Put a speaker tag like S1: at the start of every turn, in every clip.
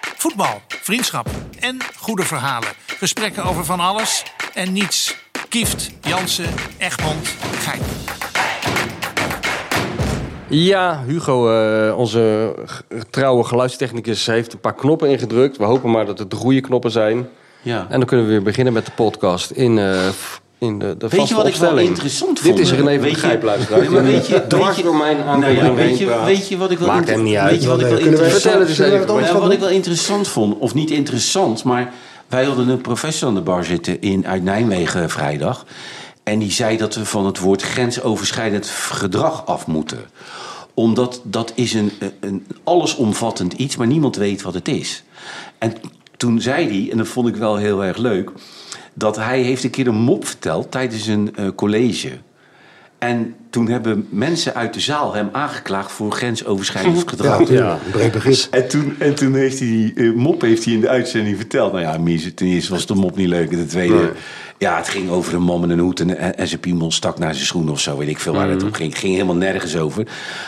S1: Voetbal, vriendschap en goede verhalen. Gesprekken over van alles en niets. Kieft, Jansen, Egmond, Gein.
S2: Ja, Hugo, eh, onze g- trouwe geluidstechnicus, heeft een paar knoppen ingedrukt. We hopen maar dat het de goede knoppen zijn.
S3: Ja.
S2: En dan kunnen we weer beginnen met de podcast in, eh, f- in de, de
S3: Weet je
S2: vaste
S3: wat ik wel
S2: opstelling.
S3: interessant
S2: Dit
S3: vond?
S2: is René van
S3: Weet
S2: de
S3: je-
S2: Gijp, luisteraar.
S3: Nee, maar weet je- weet
S2: Dwars
S3: je-
S2: door mijn
S3: Nou ja,
S2: aandacht
S3: weet,
S2: heen
S3: je,
S2: praat.
S3: weet je wat ik wel...
S2: Maakt hem niet uit.
S3: Weet je wat ik wel
S4: Kunnen wij-
S3: interessant-
S2: Vertel het eens
S4: zullen we
S2: dus even,
S4: het
S3: Nou,
S4: anders
S3: wat
S4: gaan
S3: ik wel interessant vond, of niet interessant, maar wij hadden een professor aan de bar zitten in, uit Nijmegen vrijdag. En die zei dat we van het woord grensoverschrijdend gedrag af moeten. Omdat dat is een, een allesomvattend iets, maar niemand weet wat het is. En toen zei hij, en dat vond ik wel heel erg leuk, dat hij heeft een keer een mop verteld tijdens een eh, college. En toen hebben mensen uit de zaal hem aangeklaagd voor grensoverschrijdend gedrag.
S4: Ja, ja. breed begrip.
S3: En toen, en toen heeft hij die eh, mop heeft hij in de uitzending verteld. Nou ja, Mies, ten eerste was de mop niet leuk. En ten tweede, ja, het ging over een man met een hoed en, en, en zijn piemel stak naar zijn schoen of zo. Weet ik veel waar het om ging. Het ging helemaal nergens over.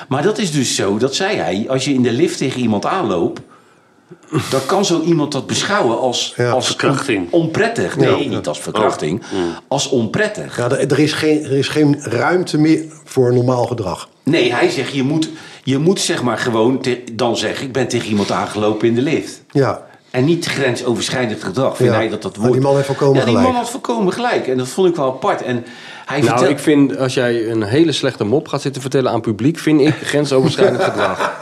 S3: Maar dat is dus zo, dat zei hij. Als je in de lift tegen iemand aanloopt, dan kan zo iemand dat beschouwen als,
S4: Ja,
S3: als
S5: verkrachting.
S3: on- onprettig. Nee, niet als verkrachting. Als onprettig.
S4: Ja, er, er is geen, er is geen ruimte meer voor normaal gedrag.
S3: Nee, hij zegt, je moet, je moet zeg maar gewoon te- dan zeggen... ik ben tegen iemand aangelopen in de lift.
S4: Ja,
S3: En niet grensoverschrijdend gedrag. Vind
S4: Ja.
S3: hij dat dat
S4: Maar
S3: woord...
S4: die man heeft volkomen
S3: ja, die
S4: gelijk.
S3: man had volkomen gelijk. En dat vond ik wel apart. En hij
S2: Nou,
S3: vertelt...
S2: ik vind als jij een hele slechte mop gaat zitten vertellen aan het publiek, vind ik grensoverschrijdend gedrag.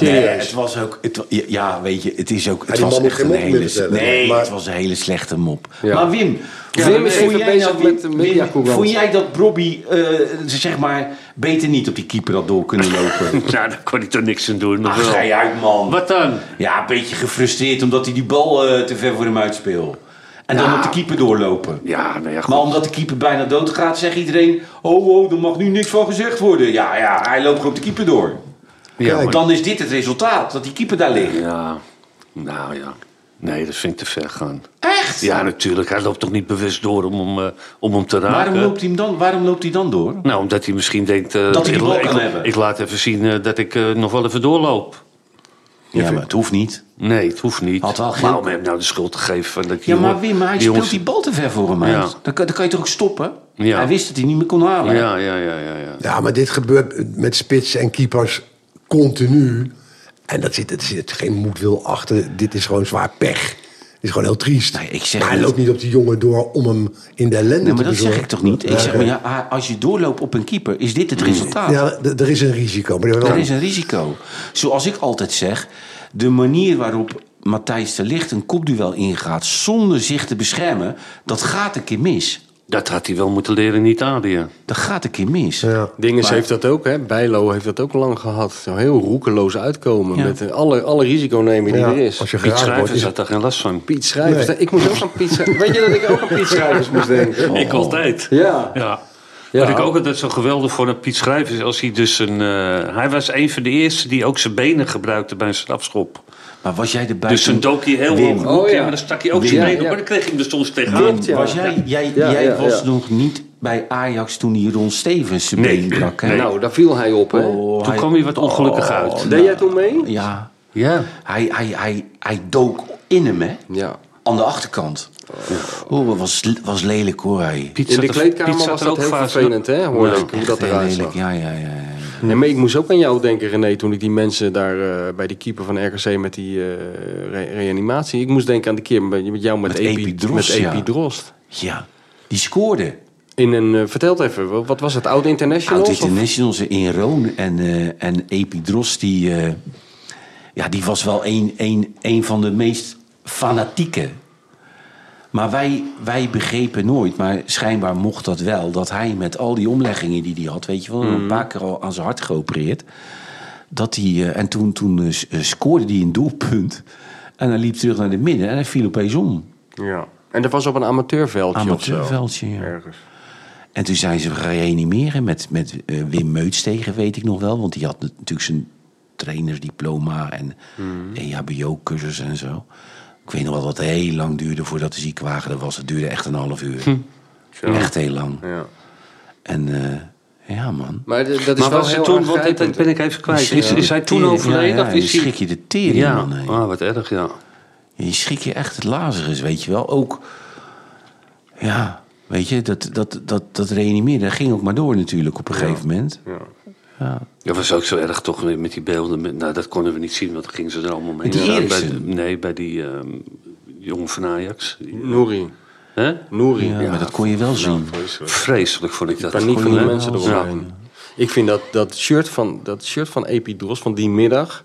S3: Nee,
S2: Serieus.
S3: het was ook... Het, wa- ja, ja, weet je, het is ook...
S4: Maar
S3: Het
S4: die
S3: was
S4: man moet
S3: echt
S4: geen
S3: een
S4: mop meer
S3: hele... s-
S4: vertellen.
S3: Nee,
S4: Maar-
S3: het was een hele slechte mop.
S2: Ja.
S3: Maar Wim...
S2: Ja,
S3: Wim,
S2: Wim is
S3: vond
S2: even
S3: jij
S2: bezig
S3: nou, Wim-
S2: met de
S3: Wim,
S2: mediacourant.
S3: Vond jij dat Bobby, eh, zeg maar, beter niet op die keeper had door kunnen lopen?
S5: Nou, daar kon hij toch niks aan doen. nog
S3: Ach,
S5: wel.
S3: schei uit, man.
S5: Wat dan?
S3: Ja, een beetje gefrustreerd omdat hij die bal eh, te ver voor hem uitspeelt. En dan op de keeper doorlopen.
S5: Ja, nou ja, goed.
S3: Maar omdat de keeper bijna dood gaat, zegt iedereen... Oh, oh, er mag nu niks van gezegd worden. Ja, ja, hij loopt gewoon op de keeper door.
S4: kijk.
S5: maar-
S3: Dan is dit het resultaat, dat die keeper daar ligt.
S5: Ja, nou ja. Nee, dat vind ik te ver gaan.
S3: Echt?
S5: Ja, natuurlijk. Hij loopt toch niet bewust door om hem, eh, om hem te raken?
S3: Waarom loopt hij hem dan, waarom loopt hij dan door?
S5: Nou, omdat hij misschien denkt... eh,
S3: Dat hij die
S5: ik-
S3: bal
S5: ik,
S3: kan hebben.
S5: Ik laat even zien eh, dat ik eh, nog wel even doorloop.
S3: Ja, maar het hoeft niet.
S5: Nee, het hoeft niet.
S3: Had wel geen-
S5: maar om hem nou de schuld te geven... van Dat ik
S3: Ja,
S5: die
S3: maar
S5: jongen-
S3: Wim, maar hij
S5: die
S3: speelt
S5: jongens-
S3: die bal te ver voor hem uit.
S5: Ja.
S3: Dan, kan, dan kan je toch ook stoppen?
S5: Ja.
S3: Hij wist dat hij niet meer kon halen.
S5: Ja, ja, ja, ja. ja.
S4: Ja, maar dit gebeurt met spitsen en keepers continu. En dat zit, er zit geen moedwil achter. Dit is gewoon zwaar pech. Het is gewoon heel triest.
S3: Nee, ik zeg
S4: maar hij
S3: niet-
S4: loopt niet op die jongen door om hem in de ellende
S3: Nee, maar
S4: te
S3: dat zeg
S4: bezorgen.
S3: ik toch niet? Ik
S4: Ja,
S3: zeg
S4: ja.
S3: maar, ja, ah, als je doorloopt op een keeper, is dit het resultaat?
S4: Ja, d- er is een risico. Maar
S3: Er
S4: wel-
S3: is een risico. Zoals ik altijd zeg, de manier waarop Matthijs de Licht een kopduel ingaat zonder zich te beschermen, dat gaat een keer mis.
S5: Dat had hij wel moeten leren in Italië.
S3: Dat gaat een keer mis.
S4: Ja.
S2: Dinges heeft dat ook, hè? Bijlo heeft dat ook lang gehad. Zo Heel roekeloos uitkomen
S3: Ja.
S2: met eh, alle, alle risico nemen die
S4: Ja,
S2: er is.
S4: Als je
S5: Piet
S4: geraakt wordt,
S5: Schrijvers
S4: is
S5: had daar geen last van.
S2: Piet Schrijvers. Ik moest ook aan Piet Schrijvers. Weet je dat ik ook aan Piet Schrijvers moest denken?
S3: Oh.
S5: Ik altijd.
S2: Ja.
S5: Ja.
S2: Ja.
S5: Wat ik ook altijd zo geweldig vond aan Piet Schrijvers... als hij dus een... eh, hij was een van de eerste die ook zijn benen gebruikte bij een strafschop.
S3: Maar was jij erbij?
S5: Dus
S3: toen-
S5: toen dook hij heel
S3: Wim,
S5: hoog
S2: Oh,
S5: oh,
S2: ja.
S5: en dan stak hij ook zijn
S2: Ja,
S5: benen op...
S2: ja.
S5: maar dan kreeg hij hem er soms tegenaan.
S2: Klopt, ja.
S3: Was jij, jij,
S2: Ja,
S3: jij
S2: ja,
S3: was
S2: ja.
S3: nog niet bij Ajax toen die Ron Stevens zijn
S5: Nee,
S3: been brak, hè?
S5: nee.
S2: Nou, daar viel hij Oh, op, hè?
S3: Oh,
S5: Toen kwam hij wat ongelukkig uit.
S2: Deed jij toen mee?
S3: Ja,
S2: Ja.
S3: hij, hij, hij, hij dook in hem, hè?
S2: Ja.
S3: Aan de achterkant. Oh, dat was, was lelijk hoor, hij.
S5: Piet
S2: In
S5: zat
S2: de
S5: er-
S2: kleedkamer
S5: Piet zat
S2: was
S5: er
S2: dat heel
S5: vaak-
S2: vervelend, hè? Hoorde ik hoe
S3: Echt
S2: dat
S3: heel
S2: eruit
S3: lelijk,
S2: zag.
S3: ja, ja, ja. ja.
S2: Nee, maar ik moest ook aan jou denken, René, toen ik die mensen daar eh, bij die keeper van RKC met die eh, re- reanimatie... Ik moest denken aan de keer met met jou met,
S3: Met
S2: Epi-
S3: Epidrost,
S2: met
S3: ja.
S2: Epidrost.
S3: Ja, die scoorde.
S2: In een, eh, vertel het even, wa- wat was het? Oud International?
S3: Oud Internationals in Roon en, eh en Epidros, die, eh, ja, die was wel een, een, een van de meest fanatieke. Maar wij, wij begrepen nooit, maar schijnbaar mocht dat wel, dat hij met al die omleggingen die hij had, weet je wel, een paar keer al aan zijn hart geopereerd. Dat hij, eh, en toen, toen eh, s- eh, scoorde hij een doelpunt. En hij liep terug naar de midden en hij viel opeens om.
S2: Ja. En dat was op een amateurveldje of zo.
S3: Amateurveldje, ja. En toen zijn ze gaan reanimeren met, met eh, Wim Meuts tegen, weet ik nog wel. Want die had nat- natuurlijk zijn trainersdiploma en
S5: Hmm.
S3: E EHBO-cursus en zo. Ik weet nog wel dat het heel lang duurde voordat de ziekwagen er was. Het duurde echt een half uur.
S5: Hm.
S3: Echt heel lang.
S2: Ja.
S3: En eh, ja, man.
S2: Maar d- dat is
S5: Maar
S2: wel
S5: was hij
S2: heel
S5: toen, want dat-
S2: aangrijpend.
S5: dat ben ik even kwijt. eh,
S3: Schrik
S5: Is,
S3: je
S5: is
S3: de
S5: hij toen
S3: tering.
S5: overleden?
S3: Ja, ja,
S5: of is
S3: je
S5: hij...
S3: schrik je de tering,
S5: ja.
S3: man, hè.
S5: Ah, wat erg, ja.
S3: Je schrik je echt het Lazarus, weet je wel. Ook, ja, weet je, dat, dat, dat, dat reanimeren dat ging ook maar door natuurlijk op een gegeven moment.
S5: Dat was ook zo erg toch weer met die beelden. Met, nou, dat konden we niet zien, want dan gingen ze er allemaal mee.
S3: Met die
S5: Ja, bij,
S3: Eriksen?
S5: de- nee, bij die ehm, jongen van Ajax. Die-
S2: Nouri.
S5: Hè?
S2: Nouri.
S3: Ja, maar dat kon je wel zien.
S2: Vreselijk.
S5: Vreselijk vond ik dat.
S2: Paniek van die
S5: Gewoon, hè?
S2: mensen eromheen. Ik vind dat, dat, shirt van, dat shirt van Epidros van die middag...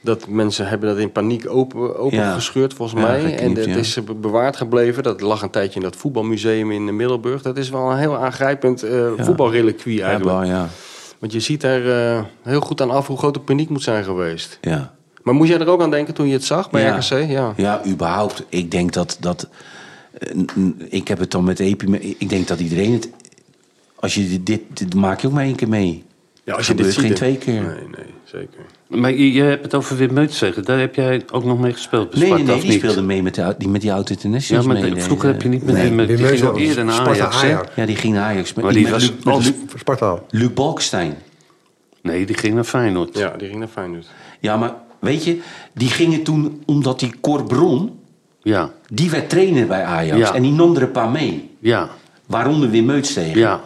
S2: dat mensen hebben dat in paniek open, opengescheurd gescheurd volgens
S3: Ja,
S2: mij. en
S3: gekniept,
S2: het
S3: ja.
S2: is be- bewaard gebleven. Dat lag een tijdje in dat voetbalmuseum in Middelburg. Dat is wel een heel aangrijpend eh voetbalreliquie
S3: Ja,
S2: eigenlijk.
S3: wel, ja.
S2: Want je ziet daar eh, heel goed aan af hoe groot de paniek moet zijn geweest.
S3: ja.
S2: Maar moest jij er ook aan denken toen je het zag bij RKC? Ja.
S3: ja, überhaupt. Ik denk dat. dat eh, n- n- ik heb het dan met Epi. maar Ik denk dat iedereen het. Als je dit, dit, dit maak je ook maar één keer mee. Gebeurt geen
S2: dan-
S3: twee keer.
S2: Nee, nee, zeker.
S5: Maar je, je hebt het over Wim Meutzegen. Daar heb jij ook nog mee gespeeld. bij
S3: Nee, nee,
S5: Sparta,
S3: nee,
S5: of
S3: die
S5: niet?
S3: speelde mee met, de, ou- die, met die oud
S5: Ja,
S3: internationals
S5: maar
S3: mee.
S5: de-
S3: nee,
S5: vroeger
S3: nee.
S5: heb je niet met
S4: Nee,
S5: hem...
S4: Wim
S5: die ging
S4: Meutzegen
S5: al eerder naar
S4: was Sparta
S5: Ajax, hè?
S4: Ajax.
S3: Ja, die ging naar Ajax. Maar
S5: Maar
S3: die
S5: die
S3: met
S5: was-
S3: Luc,
S5: was-
S3: met
S5: Luc-
S4: Sparta.
S3: Luc- Luc Balkstein.
S5: Nee, die ging naar Feyenoord.
S2: Ja, die ging naar Feyenoord.
S3: Ja, maar weet je, die gingen toen omdat die Corbron,
S5: Ja,
S3: die werd trainer bij Ajax.
S5: Ja.
S3: En die nam er een paar mee.
S5: ja,
S3: Waaronder Wim Meutstegen.
S5: ja.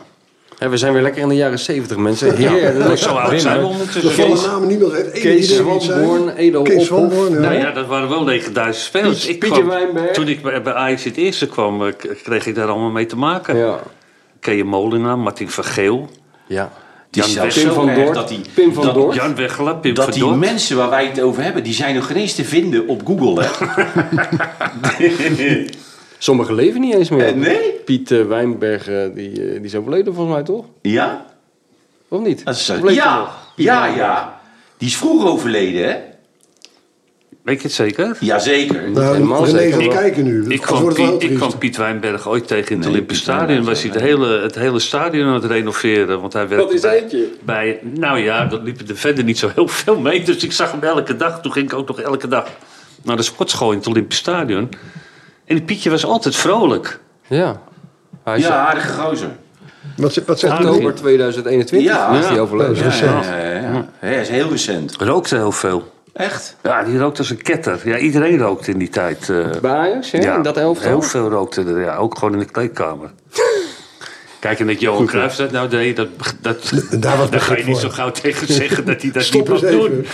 S2: Hè, we zijn weer lekker in de jaren 70 mensen. Heerlijk.
S5: Dat zo oud zijn we
S4: De
S5: ondertussen.
S4: volle namen niet meer. Eén
S2: Kees
S4: die er niet zijn.
S2: Swanborn, Edo
S4: Kees
S2: Ophof.
S4: Swanborn, ja.
S5: Nou ja, dat waren wel legendarische spelers.
S2: Piet-
S5: Ik
S2: Pietje
S5: kwam-
S2: Wijnberg.
S5: Toen ik bij bij Ajax het eerste kwam, eh, k- kreeg ik daar allemaal mee te maken.
S2: Ja.
S5: Keje Molenaar, Martin van Geel,
S2: ja.
S3: Die
S5: Jan
S3: is zelfs
S5: Pim
S3: zo
S2: van
S3: erg
S2: Doort.
S3: dat die,
S2: Pim van
S3: dat-
S2: Doort.
S5: Jan Weggela, Pim
S3: Dat die
S5: Verdorp.
S3: mensen waar wij het over hebben, die zijn nog geen eens te vinden op Google, hè?
S2: Sommigen leven niet eens meer.
S3: Eh, nee?
S2: Piet eh, Wijnberg, eh, die, eh, die is overleden volgens mij, toch?
S3: Ja?
S2: Of niet?
S3: Dat is,
S2: Of leeft hij
S3: ja,
S2: nog?
S3: ja, ja. Die is vroeger overleden, hè?
S5: Weet je het zeker?
S3: Jazeker.
S2: Niet helemaal
S4: Nou, René
S2: zeker,
S4: gaat
S2: maar-
S4: kijken nu.
S5: Ik
S4: Ik wordt
S5: kwam,
S4: het wel heel
S5: Piet, ik
S4: triest.
S5: kwam Piet Wijnberg ooit tegen in het
S3: Nee,
S5: Olympisch
S3: Piet
S5: Stadion. Was hij
S3: Wijnberg,
S5: het hele, het hele stadion aan het renoveren. Want hij werkte
S2: Wat is
S5: bij,
S2: eentje?
S5: bij... Nou ja, dat liepen er verder niet zo heel veel mee. Dus ik zag hem elke dag. Toen ging ik ook nog elke dag naar de sportschool in het Olympisch Stadion. En die Pietje was altijd vrolijk.
S2: Ja. Hij is
S3: Ja, aardige gozer.
S4: Wat, ze- wat zegt
S5: Ah,
S4: hij?
S2: oktober 2021
S3: Ja.
S2: is hij
S5: Ja.
S2: overleden.
S4: Ja,
S3: Ja,
S4: dat
S3: ja, ja, ja. Hij is heel recent.
S5: Rookte heel veel.
S3: Echt?
S5: Ja, die rookte als een ketter. Ja, iedereen rookte in die tijd. eh.
S2: Bij Ajax, hè? In dat elftal.
S5: Heel veel rookte er, ja. Ook gewoon in de kleedkamer. Kijk, en dat Johan Cruijff dat nou deed, dat, dat,
S4: daar was
S5: ga je
S4: begrip
S5: niet
S4: voor.
S5: zo gauw tegen zeggen dat hij dat
S4: Stop
S5: niet mag
S4: eens even.
S5: doen.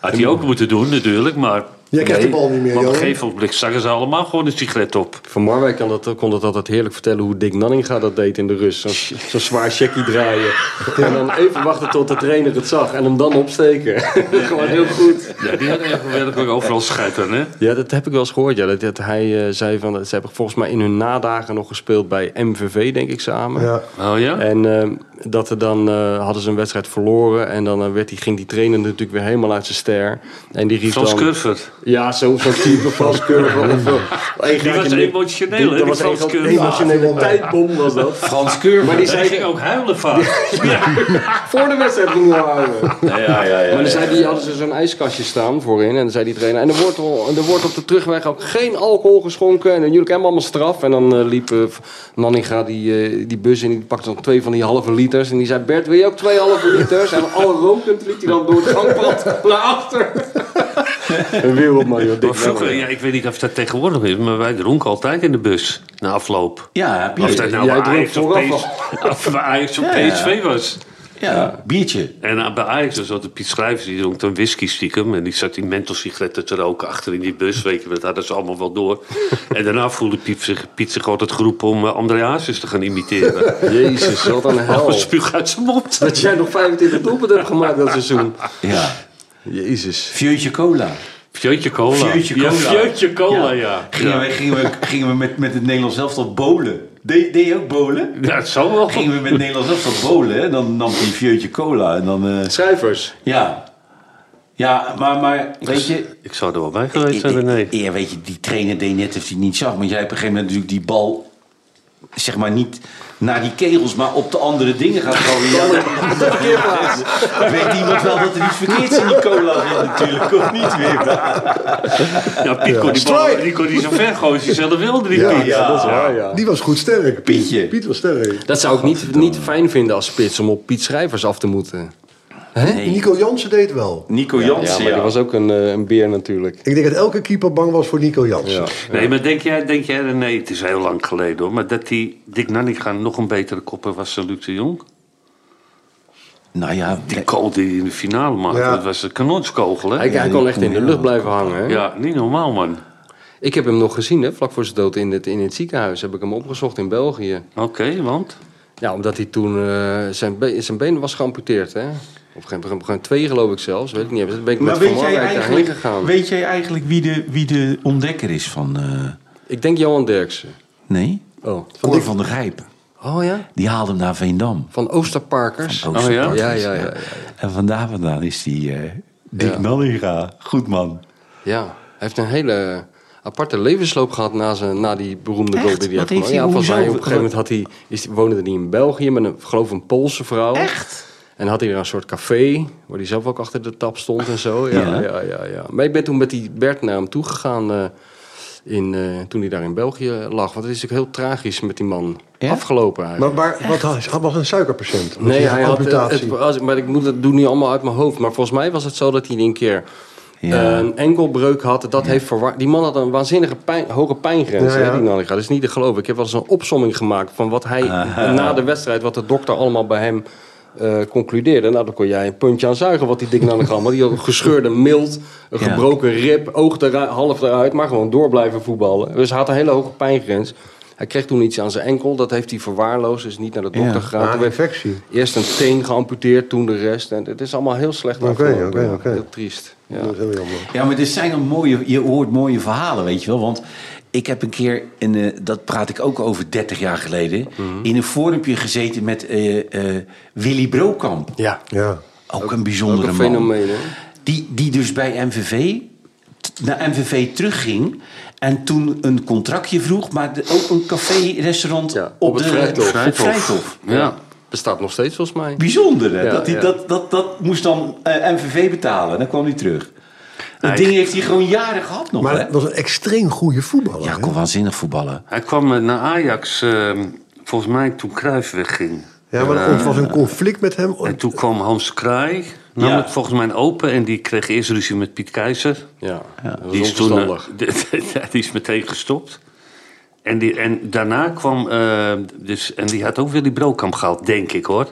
S5: Had hij ook moeten doen, natuurlijk, maar...
S4: Jij krijgt de bal niet meer,
S5: Maar op een
S4: Johan.
S5: gegeven moment zagen ze allemaal gewoon een sigaret op.
S2: Van Marwijk kan dat, kon dat altijd heerlijk vertellen hoe Dick Nanninga dat deed in de rust. Zo'n zo'n zwaar checkie draaien. En dan even wachten tot de trainer het zag en hem dan opsteken. Gewoon heel goed.
S5: Ja, die hadden echt werkelijk overal scheid aan, hè?
S2: Ja, dat heb ik wel eens gehoord. Ja. Dat, dat hij eh, zei van, ze hebben volgens mij in hun nadagen nog gespeeld bij MVV, denk ik samen.
S4: Ja.
S5: Oh ja?
S2: En eh, dat er dan eh, hadden ze een wedstrijd verloren. En dan eh, werd die, ging die trainer natuurlijk weer helemaal uit zijn ster. En die riep
S5: Frans
S2: dan...
S5: Curver.
S2: Ja, zo- zo'n type Frans Curver. Of, eh, één
S5: Die was
S2: gaatje-
S5: emotioneel, hè,
S2: Dat
S5: die
S2: was
S5: Frans
S2: een
S5: Curver.
S2: emotionele tijdbom was dat.
S3: Frans Keur.
S2: Maar die
S5: Zij
S2: zei
S5: ging ook huilen vaak.
S2: voor de wedstrijd ging hij houden.
S3: Ja, ja, ja. ja,
S2: Maar dan zei die, hadden ze zo'n ijskastje staan voorin. En dan zei die trainer, en er wordt, wel- en er wordt op de terugweg ook geen alcohol geschonken. En jullie hebben allemaal straf. En dan eh, liep eh, Nanninga die, eh, die bus in, die pakte dan twee van die halve liters. En die zei, Bert, wil je ook twee halve liters? En alle rokend liep hij dan door het gangpad naar achter. En weer op Mario
S5: Maar vroeger, ja, ik weet niet of dat tegenwoordig is, maar wij dronken altijd in de bus na afloop.
S3: Ja,
S5: Of dat
S3: biertje.
S5: nou
S2: Jij
S5: bij
S2: dronk
S5: Ajax of,
S2: vooraf
S5: PS of bij Ajax of
S3: Ja, ja.
S5: PSV was.
S3: Ja, biertje.
S5: En eh, bij Ajax was altijd Piet Schrijvers, die dronk dan whisky stiekem. En die zat die menthol-sigaretten te roken achter in die bus, weet je, dat hadden ze allemaal wel door. en daarna voelde Piet zich, Piet zich altijd geroepen om eh, André Hazes te gaan imiteren.
S2: Jezus, wat een hel.
S5: Oh, spuug uit zijn mond.
S2: Dat jij nog 25 doelpunten hebt gemaakt dat seizoen.
S3: Ja.
S2: Jezus.
S3: Fjeutje cola.
S5: Fjeutje cola.
S3: Fjeutje
S5: Ja,
S3: cola.
S5: Fjeutje cola, ja.
S3: Gingen,
S5: Ja,
S3: We, gingen, we, gingen we met, met het Nederlands elftal bolen. Deed deed je ook bolen?
S5: Ja, het zou wel.
S3: Gingen we met het Nederlands elftal bolen, hè? Dan nam hij een fjeutje cola en dan... eh,
S2: Schrijvers.
S3: ja. Ja, maar, maar weet je...
S5: Ik zou er wel bij geweest zijn,
S3: Ik-
S5: René.
S3: ik- Ja, weet je, die trainer deed net of hij niet zag. Maar jij hebt op een gegeven moment natuurlijk die bal... zeg maar niet naar die kegels, maar op de andere dingen gaat gooien. Ja, dan- dan weet iemand wel dat er iets verkeerds in die cola zit natuurlijk. Of niet weer.
S5: Ja, Piet kon die bal
S4: Strike!
S5: die kon niet zo ver gooien, die zelf wilde die Piet.
S3: ja.
S2: Dat is waar, ja.
S4: Die was goed sterk.
S3: Pietje.
S4: Piet was sterk.
S2: Dat zou ik niet, niet fijn vinden als spits om op Piet Schrijvers af te moeten.
S3: Nee.
S4: Nico Jansen deed wel.
S3: Nico
S2: Ja,
S3: Jansen,
S2: maar
S3: ja.
S2: die was ook een, eh, een beer natuurlijk.
S4: Ik denk dat elke keeper bang was voor Nico Jansen.
S2: Ja.
S5: Nee, maar denk jij, denk jij, nee, het is heel lang geleden hoor, maar dat die Dick Nanninga nog een betere kopper was dan Luc de Jong?
S3: Nou ja,
S5: Die goal die hij in de finale maakte,
S4: Ja.
S5: dat was een kanonskogel hè?
S2: Hij, hij kon echt in de lucht blijven hangen. Hè?
S5: Ja, niet normaal man.
S2: Ik heb hem nog gezien, hè, vlak voor zijn dood in het, in het ziekenhuis. Heb ik hem opgezocht in België.
S5: Oké, want?
S2: Ja, omdat hij toen eh, zijn, be- zijn been was geamputeerd. Hè? Op een gegeven moment op een gegeven moment twee geloof ik zelfs. Weet ik niet. Dan ben ik
S3: maar
S2: met Van
S3: weet jij,
S2: Marwijk daarheen
S3: eigenlijk,
S2: gegaan.
S3: weet jij eigenlijk wie de, wie de ontdekker is van... eh,
S2: Ik denk Johan Derksen.
S3: nee?
S2: Oh.
S3: Cor van der Grijpen.
S2: oh ja?
S3: Die haalde hem naar Veendam.
S2: Van Oosterparkers.
S5: Oh ja?
S2: ja, ja, ja, ja.
S3: En vandaar vandaan is die eh Dick
S2: Ja.
S3: Nanninga. Goed man.
S2: Ja, hij heeft een hele aparte levensloop gehad na, zijn, na die beroemde
S3: Echt?
S2: goal die hij had
S3: Wat
S2: gemaakt.
S3: heeft hij-
S2: Ja, volgens mij op
S3: hoezo?
S2: een gegeven moment had hij, is, woonde hij in België met een, geloof een Poolse vrouw. Echt? En had hij daar een soort café, waar hij zelf ook achter de tap stond en zo. Ja,
S3: Ja.
S2: ja, ja. ja, Maar ik ben toen met die Bert naar hem toe gegaan eh, in, eh, toen hij daar in België lag. Want het is ook heel tragisch met die man
S3: Ja?
S2: afgelopen eigenlijk.
S4: Maar, maar wat had, hij was een suikerpatiënt.
S2: Nee, hij had het,
S4: amputatie.
S2: het, als- maar ik moet het doen niet allemaal uit mijn hoofd. Maar volgens mij was het zo dat hij een keer eh,
S3: Ja.
S2: een enkelbreuk had. Dat heeft verwar- Die man had een waanzinnige pijn, hoge pijngrens.
S4: Ja,
S2: hè,
S4: ja.
S2: die Nanninga. Dat is niet te geloven. Ik heb wel eens een opsomming gemaakt van wat hij na de wedstrijd, wat de dokter allemaal bij hem eh, concludeerde. Nou, daar kon jij een puntje aan zuigen wat die Dick Nanninga allemaal. Die had een gescheurde mild, een
S3: Ja.
S2: gebroken rib, oog eruit, half eruit, maar gewoon door blijven voetballen. Dus hij had een hele hoge pijngrens. Hij kreeg toen iets aan zijn enkel, dat heeft hij verwaarloosd, is niet naar de dokter
S3: Ja.
S2: gegaan.
S4: Ah,
S2: Toen
S4: een
S2: werd-
S4: infectie.
S2: Eerst een teen geamputeerd, toen de rest. En het is allemaal heel slecht
S4: Oké,
S2: afgelopen.
S4: oké, oké.
S2: Heel triest. Ja.
S4: Dat is heel jammer.
S3: Ja, maar er zijn dan mooie, je hoort mooie verhalen, weet je wel. Want ik heb een keer, en dat praat ik ook over 30 jaar geleden, in een forumpje gezeten met eh, eh, Willy Brokamp.
S2: ja.
S4: Ja.
S3: Ook een bijzondere
S2: ook een
S3: man.
S2: fenomeen, hè?
S3: Die, die dus bij MVV t- naar MVV terugging en toen een contractje vroeg, maar de- ook een café-restaurant
S2: Ja,
S3: op,
S2: op het
S3: de
S2: Vrijthof.
S3: op het Vrijthof.
S5: Ja.
S2: Bestaat nog steeds volgens mij.
S3: Bijzonder, hè?
S2: Ja,
S3: dat, die,
S2: ja.
S3: Dat, dat, dat moest dan eh, MVV betalen. Dan kwam hij terug. Dat
S5: Nee.
S3: ding heeft hij gewoon jaren gehad nog,
S4: Maar
S3: hè?
S4: het was een extreem goede voetballer.
S3: Ja,
S4: hè?
S3: kon waanzinnig voetballen.
S5: Hij kwam eh, naar Ajax, eh, volgens mij toen Cruijff wegging.
S4: ja maar er was een conflict met hem.
S5: En toen kwam Hans Kraai, nam
S3: Ja.
S5: het volgens mij open en die kreeg eerst ruzie met Piet Keizer.
S2: Ja. Dat was
S5: Die is, toen, eh,
S2: onverstandig.
S5: die is meteen gestopt. En, die, en daarna kwam, eh, dus, en die had ook Willy Brokamp gehaald, denk ik hoor.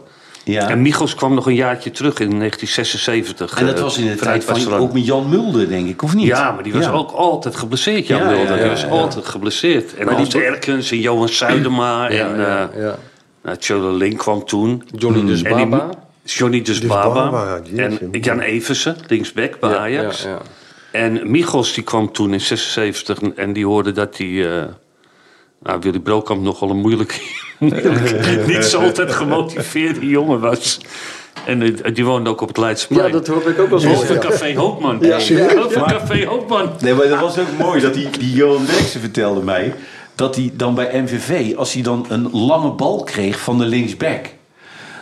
S3: Ja.
S5: En Michels kwam nog een jaartje terug in 1976.
S3: En dat
S5: eh,
S3: was in de
S5: vrij
S3: tijd van
S5: Passerang.
S3: ook met Jan Mulder, denk ik, of niet?
S5: Ja, maar die was
S3: Ja.
S5: ook altijd geblesseerd, Jan
S3: Ja,
S5: Mulder.
S3: ja, ja,
S5: die was
S3: ja.
S5: altijd geblesseerd. En Hans Erkens en Johan Zuidema en
S2: ja,
S5: eh,
S2: ja.
S5: nou, Tjolle Link kwam toen. Hmm.
S2: Johnny dus
S5: En die-
S2: Baba.
S5: Johnny dus
S4: Dus
S5: Baba.
S4: Baba, ja,
S5: en
S4: jeetje.
S5: Jan Eversen, linksback bij
S2: Ja,
S5: Ajax.
S2: ja, ja.
S5: En Michels die kwam toen in 76 en die hoorde dat hij... eh, nou, Willy Brokamp nogal een moeilijke... moeilijke- niet zo altijd gemotiveerde jongen was. En eh, die woonde ook op het
S2: ja,
S5: Leidsplein.
S2: dat hoop ik ook wel eens.
S5: Over Café Hoopman.
S4: serieus?
S5: Over Café Hoopman.
S3: Nee, maar dat was ook mooi dat die, die Johan Derksen vertelde mij... dat hij dan bij MVV, als hij dan een lange bal kreeg van de linksback...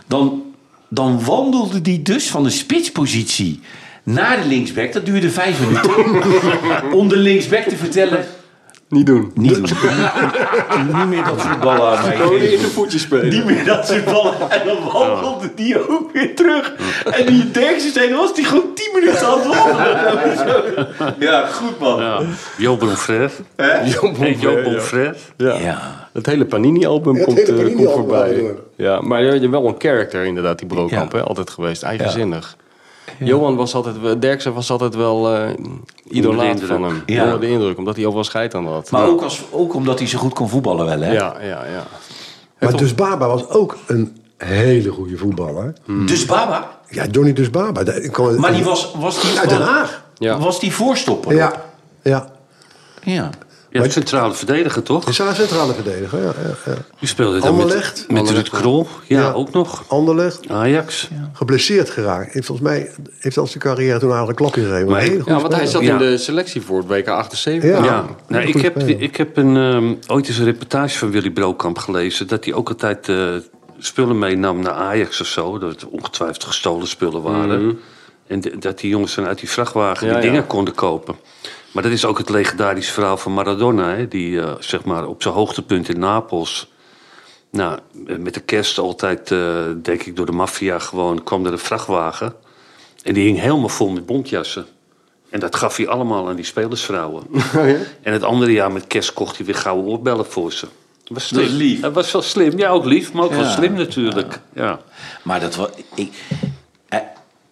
S3: dan, dan wandelde hij dus van de spitspositie naar de linksback. Dat duurde vijf minuten. om de linksback te vertellen...
S2: Niet doen.
S3: Niet doen. niet meer dat soort ballen aan mij
S2: Gewoon
S3: geven.
S2: in de voetjes spelen.
S3: Niet meer dat soort ballen. En dan wandelde die ook weer terug. En die Derksen tegen was die gewoon 10 minuten aan het wandelen. Ja, goed man.
S5: Ja, Jo Bonfrère. Hey, Jo Bonfrère.
S2: Ja.
S3: Ja.
S2: Het hele Panini-album
S4: het
S2: komt,
S4: hele
S2: eh, komt
S4: Panini-album wel
S2: voorbij.
S4: door.
S2: Ja, maar je- je wel een character inderdaad, die Brokamp.
S3: Ja.
S2: hè, Altijd geweest, eigenzinnig. Johan was altijd, wel- Derksen was altijd wel eh idolaat
S5: indruk.
S2: van hem.
S3: Ja.
S2: Onder de indruk, omdat hij overal scheid aan had.
S3: Maar
S2: Ja.
S3: ook, als, ook omdat hij zo goed kon voetballen wel, hè?
S2: Ja, ja, ja.
S4: Maar Dus Baba was ook een hele goede voetballer.
S3: Dus Baba.
S4: Ja, Johnny Dus Baba. daar- ik kwam-
S3: Maar die was, was die...
S4: Uit Den Haag.
S2: Ja.
S3: Was die voorstopper?
S4: Ja, ja.
S3: ja.
S5: Ja, centrale verdediger toch?
S4: Hij is een centrale verdediger. Ja, ja, ja.
S5: Die speelde dan met,
S4: Anderlecht.
S5: met Ruud Krol. Ja,
S4: Ja.
S5: ook nog.
S4: Anderlecht,
S5: Ajax.
S4: geblesseerd geraakt. En Volgens mij heeft al zijn carrière toen eigenlijk een klapje gegeven.
S5: Maar-
S4: Een hele goede
S2: Ja, want hij zat
S4: speler.
S5: Ja.
S2: in de selectie voor het WK 78.
S4: Ja.
S5: Ja, nou, ik,
S4: goed
S5: heb,
S4: speler.
S5: ik heb een, ehm, ooit eens een reportage van Willy Brokamp gelezen. Dat hij ook altijd eh, spullen meenam naar Ajax of zo. Dat het ongetwijfeld gestolen spullen waren. En d- dat die jongens dan uit die vrachtwagen
S2: Ja,
S5: die
S2: ja.
S5: dingen konden kopen. Maar dat is ook het legendarische verhaal van Maradona. Hè, die eh, zeg maar op zijn hoogtepunt in Napels. Nou, eh, met de kerst altijd, eh, denk ik, door de maffia gewoon kwam er een vrachtwagen. En die hing helemaal vol met bontjassen. En dat gaf hij allemaal aan die spelersvrouwen.
S2: Oh
S5: En het andere jaar met kerst kocht hij weer gouden oorbellen voor ze. Dat was, slim.
S3: Dat is lief.
S5: Dat was wel slim. Ja, ook lief, maar ook wel
S3: Ja.
S5: slim natuurlijk. Ja.
S3: Maar dat was. Ik, eh,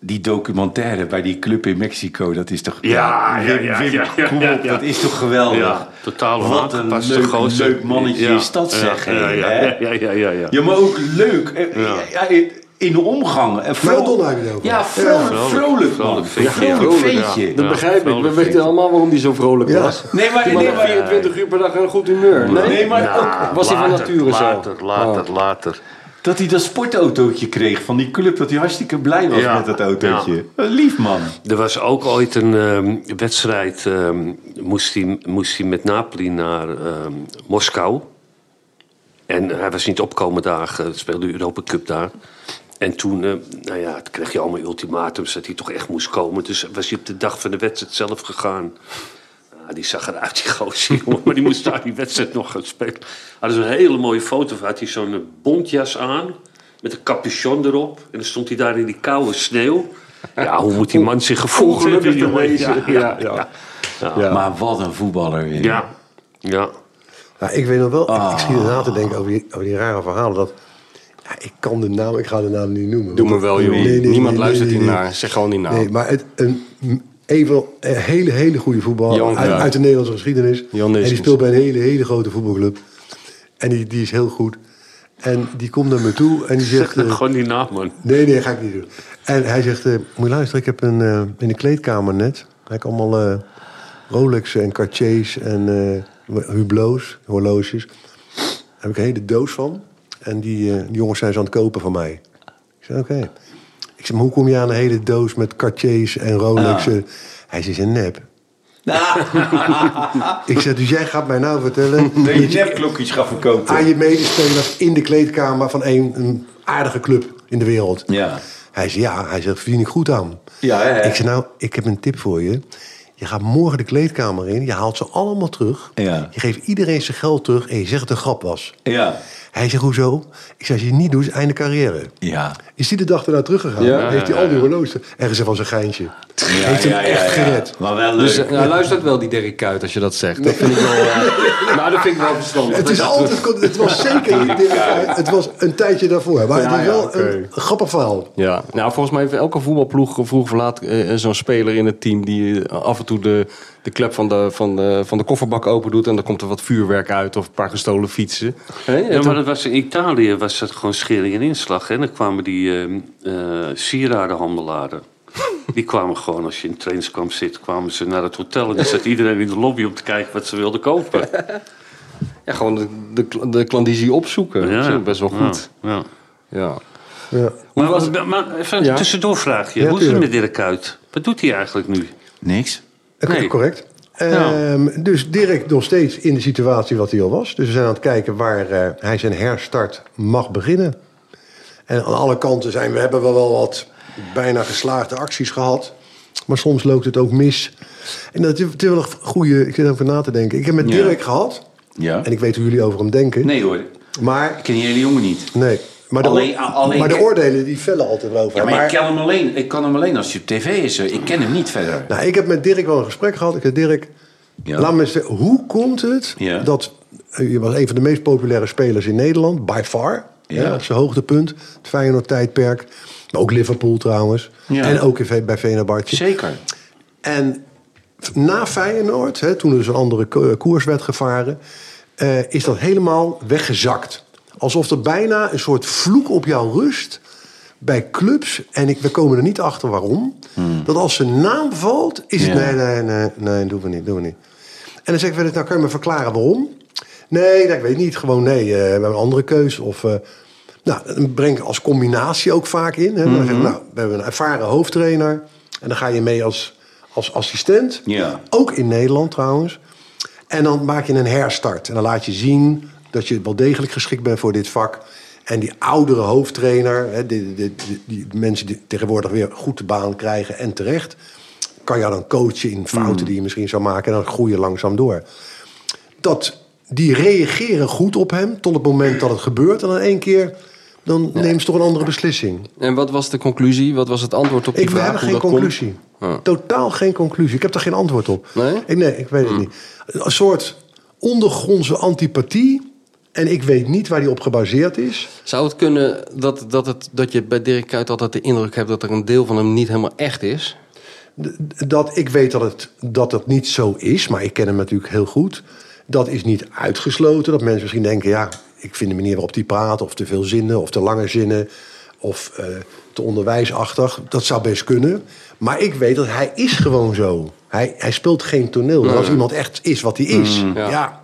S3: die documentaire bij die club in Mexico, dat is toch.
S5: Ja, ja,
S3: Wim-
S5: ja,
S3: Wim,
S5: ja, ja,
S3: kom
S5: ja,
S3: op,
S5: ja.
S3: dat is toch geweldig?
S5: Ja, totaal
S3: Wat een
S5: aangepaste
S3: leuk,
S5: gozer.
S3: leuk mannetje
S5: Ja.
S3: is dat,
S5: Ja,
S3: zeg.
S5: ja,
S3: hé,
S5: ja,
S3: hè?
S5: ja, ja, ja, ja, ja.
S3: Ja, maar ook leuk. Eh,
S5: Ja.
S3: ja, in de omgang. En vro-
S4: Maradona heb je het over.
S3: Ja, vrolijk,
S5: Ja.
S3: vrolijk, man.
S5: Vrolijk ventje,
S3: Vrolijk
S5: ja.
S3: ventje.
S2: Dat
S5: Ja,
S2: begrijp ik. We
S5: vrolijk
S2: weten
S5: ventje.
S2: allemaal waarom die zo vrolijk
S4: Ja.
S2: was.
S3: Nee, maar,
S2: Die
S3: nee,
S2: man had
S3: maar
S2: 24 uur per dag een goed humeur. Nee,
S3: Nee, maar
S5: Nou,
S3: ook
S2: was hij van
S5: later,
S2: nature zo? Oh.
S5: Later, later, later.
S3: dat hij dat sportautootje kreeg van die club. Dat hij hartstikke blij was
S5: Ja.
S3: met dat autootje. Wat Lief, man.
S5: Er was ook ooit een ehm, wedstrijd. ehm, moest, hij, moest hij met Napoli naar ehm, Moskou. En hij was niet opkomen dagen. Het speelde de Europa Cup daar. En toen, eh, nou ja, toen kreeg je allemaal ultimatums dat hij toch echt moest komen. Dus was hij op de dag van de wedstrijd zelf gegaan. Ah, die zag eruit, die gozer, jongen. Maar die moest daar die wedstrijd nog gaan spelen. Hadden ze een hele mooie foto van. Had hij zo'n eh, bontjas aan. Met een capuchon erop. En dan stond hij daar in die koude sneeuw. Ja, hoe moet die man zich gevoeld hebben,
S2: Ongelukkig te
S5: jongen?
S2: wezen.
S5: Ja, ja,
S2: Ja,
S5: ja.
S3: Maar wat een voetballer weer.
S5: ja. ja.
S4: Nou, ik weet nog wel, ik, ik zie
S2: Ah.
S4: er na te denken over die, over die rare verhalen. Dat, ja, ik kan de naam, ik ga de naam niet noemen.
S2: Doe
S4: Want-
S2: me wel, joh.
S4: Nee, nee, nee,
S2: Niemand
S4: nee,
S2: luistert
S4: nee, nee.
S2: hiernaar. Zeg gewoon die naam.
S4: Nee, maar het, een, even een hele, hele goede voetballer
S2: Johan
S4: uit,
S2: Cruijff.
S4: uit de Nederlandse geschiedenis.
S2: Jan
S4: en die
S2: Neeskens.
S4: speelt bij een hele, hele grote voetbalclub. En die, die is heel goed. En die komt naar me toe en die
S5: Zeg
S4: zegt...
S5: dat
S4: eh,
S5: gewoon die naam, man.
S4: Nee, nee, ga ik niet doen. En hij zegt, eh, moet je luisteren, ik heb een, eh, in de kleedkamer net... heb ik allemaal eh Rolexen en Cartiers en eh, Hublots, horloges. Daar heb ik een hele doos van. En die, eh, die jongens zijn ze aan het kopen van mij. Ik zei, oké. Ik zeg, maar hoe kom je aan een hele doos met Cartiers en Rolexen? Hij zegt, een nep.
S3: Ah,
S4: ik zeg, dus jij gaat mij nou vertellen...
S3: Dat je nepklokjes gaat verkopen.
S4: aan je medespelers in de kleedkamer van een, een aardige club in de wereld.
S3: Ja.
S4: Hij zei, ja, hij zegt, verdien ik goed aan.
S3: Ja, hè, hè.
S4: Ik zei, nou, ik heb een tip voor je. Je gaat morgen de kleedkamer in, je haalt ze allemaal terug.
S3: Ja.
S4: Je geeft iedereen zijn geld terug en je zegt dat het een grap was.
S3: Ja.
S4: Hij zegt, hoezo? Ik zei, als je het niet doet, is het einde carrière.
S3: Ja.
S4: Is hij de dag erna teruggegaan?
S2: Ja.
S4: Heeft hij al die horloges ergens van zijn geintje? Heeft hem echt gered.
S3: Maar wel leuk.
S2: Dus eh, nou, luistert wel die Derek Kuyt als je dat zegt. Dat vind ik wel, eh, nou, dat vind ik wel verstandig.
S4: Het,
S2: Dat
S4: is
S2: je
S4: altijd, het was zeker niet dit- het was een tijdje daarvoor. Maar het
S2: Ja,
S4: is
S2: ja,
S4: wel
S2: oké.
S4: een grappig verhaal.
S2: Ja, nou volgens mij heeft elke voetbalploeg vroeg of laat eh, zo'n speler in het team die eh, af en toe de, de klep van de, van, de, van de kofferbak open doet en dan komt er wat vuurwerk uit of een paar gestolen fietsen. Hè? En
S5: Ja,
S2: toen-
S5: maar dat was in Italië was dat gewoon schering en inslag. hè. En dan kwamen die ehm eh, sieradenhandelaren. Die kwamen gewoon, als je in trains kwam zitten, kwamen ze naar het hotel. En dan zat iedereen in de lobby om te kijken wat ze wilden kopen.
S2: ja, gewoon de, de, kla- de klandizie opzoeken.
S5: Ja,
S2: Dat is
S5: ja.
S2: best wel goed.
S5: Ja, ja.
S2: Ja.
S4: Ja.
S5: Maar, maar, maar even
S2: Ja.
S5: een tussendoorvraagje.
S4: Ja,
S5: Hoe is het met
S4: tuurlijk.
S5: Dirk Kuyt? Wat doet hij eigenlijk nu?
S3: Niks.
S4: Dat
S5: Nee.
S4: Correct.
S3: Nou.
S4: Ehm, dus Dirk nog steeds in de situatie wat hij al was. Dus we zijn aan het kijken waar eh, hij zijn herstart mag beginnen. En aan alle kanten zijn we hebben we wel wat bijna geslaagde acties gehad. Maar soms loopt het ook mis. En dat is het is wel een goede. Ik zit over na te denken. Ik heb met
S3: Ja.
S4: Dirk gehad.
S3: Ja.
S4: En ik weet hoe jullie over hem denken.
S3: Nee hoor, ik
S4: Maar
S3: ken die hele jongen niet.
S4: nee. Maar de,
S3: Alleen- alleen-
S4: maar de oordelen die vellen altijd wel over.
S3: Ja,
S4: hem.
S3: maar,
S4: Maar-
S3: ik ken hem alleen. Ik kan hem alleen als hij op tv is. Ik ken hem niet verder.
S4: Nou, ik heb met Dirk wel een gesprek gehad. Ik zei, Dirk,
S3: Ja.
S4: laat me eens zeggen, hoe komt het
S3: Ja.
S4: dat... eh, Je was een van de meest populaire spelers in Nederland, by far.
S3: Ja.
S4: Hè, op zijn hoogtepunt, het Feyenoord-tijdperk. Maar ook Liverpool trouwens.
S3: Ja.
S4: En ook in, Ve- bij Venabartje.
S3: Zeker.
S4: En na Feyenoord, hè, toen er dus een andere ko- koers werd gevaren... eh, is dat helemaal weggezakt. Alsof er bijna een soort vloek op jou rust bij clubs... en ik, we komen er niet achter waarom... dat als zijn naam valt, is het...
S3: Ja.
S4: Nee, nee, nee, nee, doen we niet, doen we niet. En dan zeg ik, wel eens, nou kan je me verklaren waarom? Nee, dat, ik weet niet, gewoon nee, eh, we hebben een andere keus. Of, eh, nou, dat breng ik als combinatie ook vaak in. Hè. Dan zeg ik, nou, we hebben een ervaren hoofdtrainer... en dan ga je mee als, als assistent.
S3: Ja.
S4: Ook in Nederland trouwens. En dan maak je een herstart. En dan laat je zien dat je wel degelijk geschikt bent voor dit vak. En die oudere hoofdtrainer, hè, die, die, die, die mensen die tegenwoordig weer goed de baan krijgen en terecht, kan jou dan coachen in fouten die je misschien zou maken. En dan groei je langzaam door. Dat die reageren goed op hem tot het moment dat het gebeurt. En dan één keer dan nemen ze toch een andere beslissing.
S2: En wat was de conclusie? Wat was het antwoord op die
S4: Ik, we
S2: vraag?
S4: hebben
S2: hoe
S4: geen
S2: dat
S4: conclusie.
S2: komt? Ah.
S4: Totaal geen conclusie. Ik heb daar geen antwoord op.
S2: Nee? Hmm.
S4: Ik, nee, ik weet het niet. Een soort ondergrondse antipathie. En ik weet niet waar die op gebaseerd is.
S2: Zou het kunnen dat, dat, het, dat je bij Dirk Kuyt altijd de indruk hebt dat er een deel van hem niet helemaal echt is?
S4: D- Dat ik weet dat het, dat het niet zo is, maar ik ken hem natuurlijk heel goed. Dat is niet uitgesloten. Dat mensen misschien denken, ja, ik vind de manier waarop die praat... of te veel zinnen, of te lange zinnen, of eh, te onderwijsachtig. Dat zou best kunnen. Maar ik weet dat hij is gewoon zo. Hij, hij speelt geen toneel. En als iemand echt is wat hij is, ja.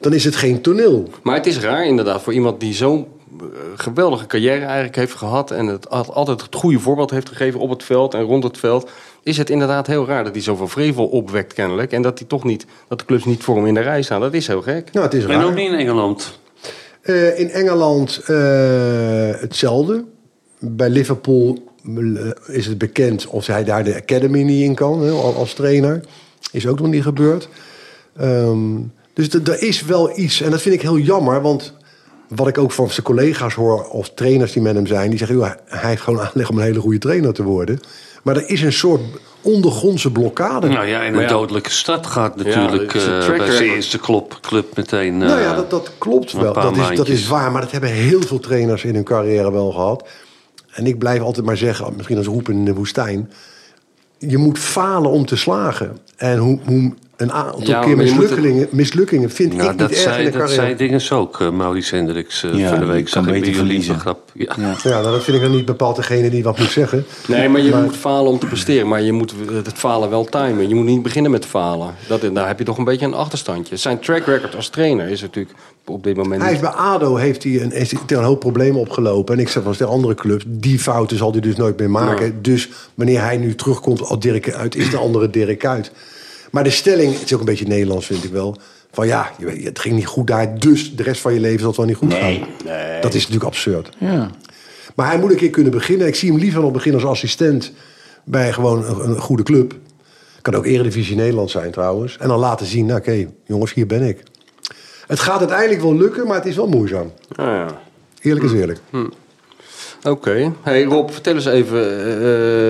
S4: dan is het geen toneel.
S2: Maar het is raar inderdaad voor iemand die zo'n eh, geweldige carrière eigenlijk heeft gehad... en het al- altijd het goede voorbeeld heeft gegeven op het veld en rond het veld... is het inderdaad heel raar dat hij zoveel vrevel opwekt kennelijk... en dat, hij toch niet, dat de clubs niet voor hem in de rij staan. Dat is heel gek.
S4: Nou, het is
S5: En
S4: raar.
S5: ook niet in Engeland.
S4: Eh, in Engeland eh, hetzelfde. Bij Liverpool eh, is het bekend of hij daar de academy niet in kan hè, al- als trainer. Is ook nog niet gebeurd. Ehm, dus d- er is wel iets. En dat vind ik heel jammer, want wat ik ook van zijn collega's hoor of trainers die met hem zijn, die zeggen: "Joh, hij- hij heeft gewoon aanleg om een hele goede trainer te worden. Maar er is een soort ondergrondse blokkade.
S5: Nou ja, en een
S2: ja.
S5: dodelijke stad gaat natuurlijk
S2: dat is een
S5: eh,
S2: track
S5: bij zijn
S2: record.
S5: eerste club, club meteen. eh,
S4: Nou ja, dat, dat klopt
S5: een
S4: wel.
S5: paar
S4: Dat is, dat
S5: maandjes.
S4: is waar. Maar dat hebben heel veel trainers in hun carrière wel gehad. En ik blijf altijd maar zeggen, misschien als roepen in de woestijn. Je moet falen om te slagen. En hoe, hoe een aantal
S2: Ja, maar je
S4: keer
S2: moet het-
S4: mislukkingen, mislukkingen vind
S5: Nou,
S4: ik niet
S5: dat
S4: erg in
S5: zei,
S4: de
S5: dat
S4: carrière.
S5: zei Dinges ook, eh, Maurice Hendricks, eh,
S3: Ja,
S5: van de
S3: je
S5: week.
S3: kan
S5: Zag ik
S3: beter
S5: bij jullie
S3: verliezen.
S5: een grap. Ja.
S3: Ja.
S4: Ja, nou, dat vind ik dan niet bepaald degene die wat moet zeggen.
S2: Nee, maar je moet falen om te presteren. Maar je moet eh, het falen wel timen. Je moet niet beginnen met falen. Dat, eh, daar heb je toch een beetje een achterstandje. Zijn track record als trainer is natuurlijk op dit moment
S4: Hij
S2: niet
S4: is bij ADO heeft hij een, heeft hij een hoop problemen opgelopen. En ik zeg van de andere clubs, die fouten zal hij dus nooit meer maken. Dus wanneer hij nu terugkomt als Dirk uit, is de andere Dirk uit. Maar de stelling, het is ook een beetje Nederlands vind ik wel. Van ja, je weet, het ging niet goed daar, dus de rest van je leven zal het wel niet goed gaan. Dat is natuurlijk absurd.
S3: Ja.
S4: Maar hij moet een keer kunnen beginnen. Ik zie hem liever nog beginnen als assistent bij gewoon een, een goede club. Kan ook Eredivisie Nederland zijn trouwens. En dan laten zien, nou, oké, jongens, hier ben ik. Het gaat uiteindelijk wel lukken, maar het is wel moeizaam.
S2: Ah, ja.
S4: Eerlijk is eerlijk.
S2: Oké. Hey Rob, vertel eens even.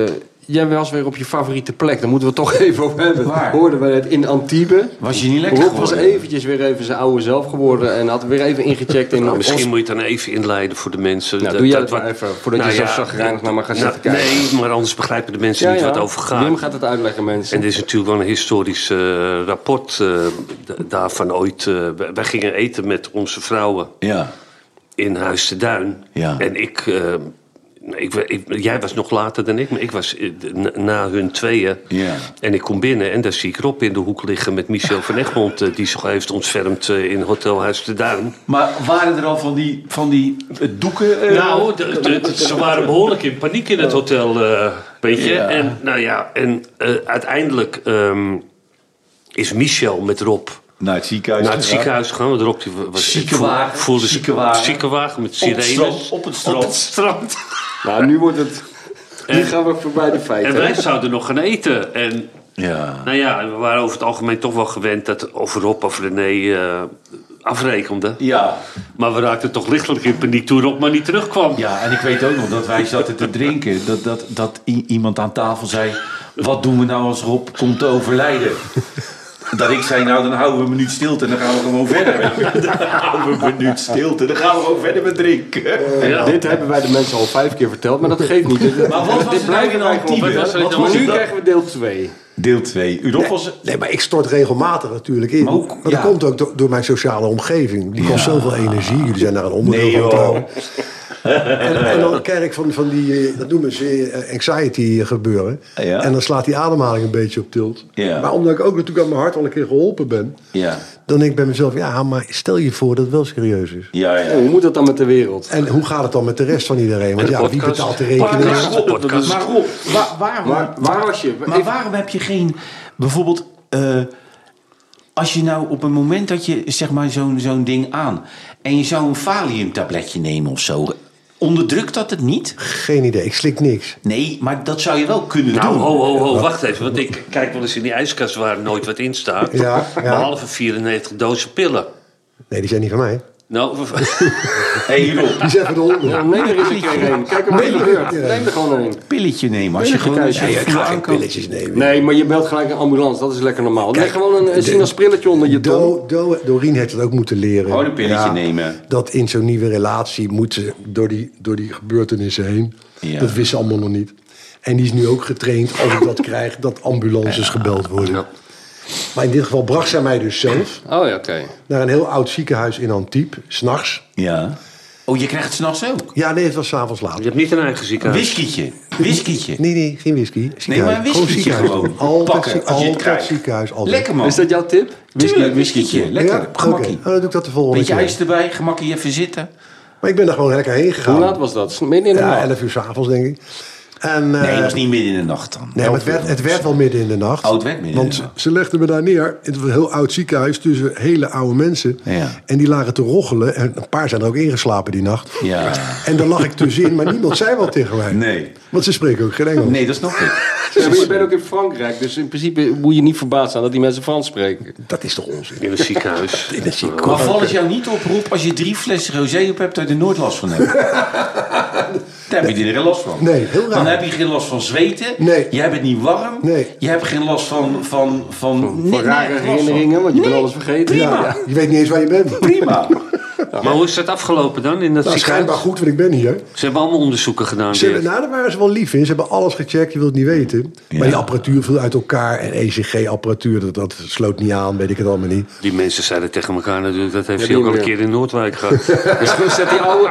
S2: eh, jij was weer op je favoriete plek. Daar moeten we het toch even over hebben.
S3: Waar?
S2: Hoorden we het in Antibes.
S3: Was je niet lekker
S2: Rob was
S3: geworden?
S2: eventjes weer even zijn oude zelf geworden. En had weer even ingecheckt in
S5: Nou,
S2: ons-
S5: misschien moet je het dan even inleiden voor de mensen.
S2: Nou, doe jij dat maar even, voordat je zo chagrijnig naar me gaat zitten kijken.
S5: Nou Nee, maar anders begrijpen de mensen
S2: Ja,
S5: niet
S2: ja.
S5: wat over gaat.
S2: Wim gaat het uitleggen, mensen.
S5: En dit is natuurlijk wel een historisch eh, rapport eh, d- daarvan ooit. eh, wij- wij gingen eten met onze vrouwen
S3: Ja.
S5: in Huis te Duin.
S3: Ja.
S5: En ik, eh, ik, wa- ik- Jij was nog later dan ik, maar ik was eh, d- na- na hun tweeën.
S3: Ja.
S5: En ik kom binnen en daar zie ik Rob in de hoek liggen met Michel van Egmond. eh, die zich heeft ontfermd eh, in Hotel Huis te Duin.
S3: Maar waren er al van die, van die eh, doeken? eh,
S5: Nou, de- de- de- ze waren behoorlijk in paniek in het hotel, eh, weet je.
S3: Ja.
S5: En, nou ja, en eh, uiteindelijk ehm, is Michel met Rob
S3: naar het ziekenhuis.
S5: naar het
S3: gegaan?
S5: ziekenhuis gegaan. Want Rob die was
S3: Ziekenwagen,
S5: voelde zich-
S3: ziekenwagen.
S5: ziekenwagen met
S3: Op het strand,
S5: sirenes.
S3: op het strand.
S5: Op het strand.
S2: Nou, nu wordt het... Nu gaan we voorbij de feiten.
S5: En wij zouden nog gaan eten. En
S3: Ja.
S5: nou ja, we waren over het algemeen toch wel gewend dat of Rob of René eh, afrekenden.
S3: Ja.
S5: Maar we raakten toch lichtelijk in paniek toen Rob maar niet terugkwam.
S3: ja, en ik weet ook nog dat wij zaten te drinken. Dat, dat, dat i- iemand aan tafel zei... Wat doen we nou als Rob komt te overlijden? Dat ik zei, nou dan houden we een minuut stilte en dan gaan we gewoon verder. Dan houden we een minuut stilte, dan gaan we gewoon verder met drinken.
S5: Ja.
S2: Dit hebben wij de mensen al vijf keer verteld, maar dat geeft niet. Dit,
S3: Maar wat was het nou in Antibes?
S5: Wat was er in
S2: Maar nu
S5: Antibes?
S2: krijgen we deel 2.
S3: Deel 2. Rob was...
S4: Nee, maar ik stort regelmatig natuurlijk in.
S3: Maar
S4: Maar,
S3: hoe-
S4: dat
S3: ja.
S4: komt ook do- door, mijn sociale omgeving. Die kost zoveel energie. Jullie zijn daar een onderdeel
S3: Nee,
S4: van
S3: joh.
S4: trouwens. En, en dan krijg ik van, van die, eh, dat noemen ze eh, anxiety gebeuren.
S3: Ja.
S4: En dan slaat die ademhaling een beetje op tilt.
S3: Ja.
S4: Maar omdat ik ook natuurlijk aan mijn hart al een keer geholpen ben.
S3: Ja.
S4: Dan denk ik bij mezelf, ja, maar stel je voor dat het wel serieus is.
S3: Ja, ja.
S2: Oh, Hoe moet dat dan met de wereld?
S4: En hoe gaat het dan met de rest van iedereen? Want
S5: De
S4: ja, wie
S5: podcast.
S4: betaalt de rekening?
S5: Podcast. Podcast.
S3: Maar Rob, waar, waarom,
S2: Maar waar was je?
S3: maar
S2: Even-
S3: waarom heb je geen... Bijvoorbeeld, eh, als je nou op een moment dat je zeg maar zo'n zo'n ding aan... en je zou een Valium-tabletje nemen of zo... onderdrukt dat het niet?
S4: Geen idee, ik slik niks.
S3: Nee, maar dat zou je wel kunnen
S5: Nou,
S3: doen.
S5: ho, ho, ho, wacht even. Want ik kijk wel eens in die ijskast waar nooit wat in staat.
S4: Ja, ja.
S5: Behalve 94 dozen pillen.
S4: Nee, die zijn niet van mij.
S5: Nou,
S3: hey, hierop.
S2: Die zeggen de honden. Ja, neem er eens een keer een. Kijk hem hele beurt. Neem er gewoon een.
S3: Pilletje nemen als je
S2: Pilletje
S3: gewoon als je
S2: thuis.
S3: voel aankomt.
S4: Pilletjes nemen.
S2: Nee, maar je belt gelijk een ambulance. Dat is lekker normaal. Leg gewoon een, een
S4: de-
S2: sinaasappelletje onder je tong.
S4: Do, do, Doreen heeft het ook moeten leren.
S3: Gewoon een pilletje nemen.
S4: Dat in zo'n nieuwe relatie moet ze door die, door die gebeurtenissen heen.
S3: Ja.
S4: Dat wist ze allemaal nog niet. En die is nu ook getraind, als ik dat krijg, dat ambulances gebeld worden. Maar in dit geval bracht zij mij dus zelf
S2: Oh ja, oké.
S4: naar een heel oud ziekenhuis in Antiep, s'nachts.
S3: Ja. Oh, je krijgt het s'nachts ook.
S4: Ja, nee, het was s'avonds laat.
S5: je hebt niet een eigen
S3: Een
S5: ziekenhuis.
S3: whiskietje. Whiskietje.
S4: Nee, nee, geen whisky. Ziekenhuis.
S3: maar een whiskytje gewoon.
S4: Altijd,
S3: Pakken,
S4: zie-
S3: als je het
S4: altijd
S3: krijgt.
S4: ziekenhuis. Altijd.
S3: Lekker man.
S2: Is dat jouw tip?
S3: Whisky, whiskietje. Lekker.
S4: Ja? Oké,
S3: Gemakkie.
S4: nou, dan doe ik dat de volgende
S3: Beetje
S4: keer.
S3: ijs erbij. Gemakkie even zitten.
S4: Maar ik ben daar gewoon lekker heen
S2: Hoe
S4: gegaan.
S2: laat was dat? Midden in de
S4: Ja,
S2: nacht?
S4: 11 uur s'avonds, denk ik. En,
S3: Nee,
S4: eh,
S3: het was niet midden in de nacht dan.
S4: Nee, maar het werd, het werd wel midden in de nacht.
S3: Oh, het werd midden in
S4: Want
S3: de nacht.
S4: ze legden me daar neer. Het was een heel oud ziekenhuis tussen hele oude mensen.
S3: Ja.
S4: En die lagen te roggelen. En een paar zijn er ook ingeslapen die nacht.
S3: Ja.
S4: En daar lag ik tussenin, maar niemand zei wat tegen mij.
S3: Nee.
S4: Want ze spreken ook geen Engels.
S3: Nee, dat snap ik.
S2: Ja, maar je bent ook in Frankrijk, dus in principe moet je niet verbaasd zijn dat die mensen Frans spreken.
S4: Dat is toch onzin?
S5: In een ziekenhuis. In een ziekenhuis.
S3: Maar val het jou niet op, Rob, als je drie flessen rosé op hebt, dat je er nooit last van hebt. Daar heb je er geen last van.
S4: Nee, heel raar.
S3: Dan heb je geen last van zweten.
S4: Nee.
S3: Jij bent niet warm.
S4: Nee.
S3: Je hebt geen last van... van, van,
S2: Van rare herinneringen, want je bent alles vergeten.
S4: Ja, ja, je weet niet eens waar je bent.
S3: Prima.
S5: Maar hoe is dat afgelopen dan in dat
S4: Nou,
S5: ziekenhuis?
S4: schijnbaar goed, want ik ben hier.
S5: Ze hebben allemaal onderzoeken gedaan
S4: Ze,
S5: weer.
S4: hebben- nou, daar waren ze wel lief in. Ze hebben alles gecheckt, je wilt het niet weten. Maar die apparatuur viel uit elkaar. En ECG-apparatuur, dat, dat sloot niet aan, weet ik het allemaal niet.
S5: Die mensen zeiden tegen elkaar natuurlijk, dat heeft hij
S2: die
S5: ook al een
S2: weer.
S5: keer in Noordwijk gehad.
S2: Dus zet die oude,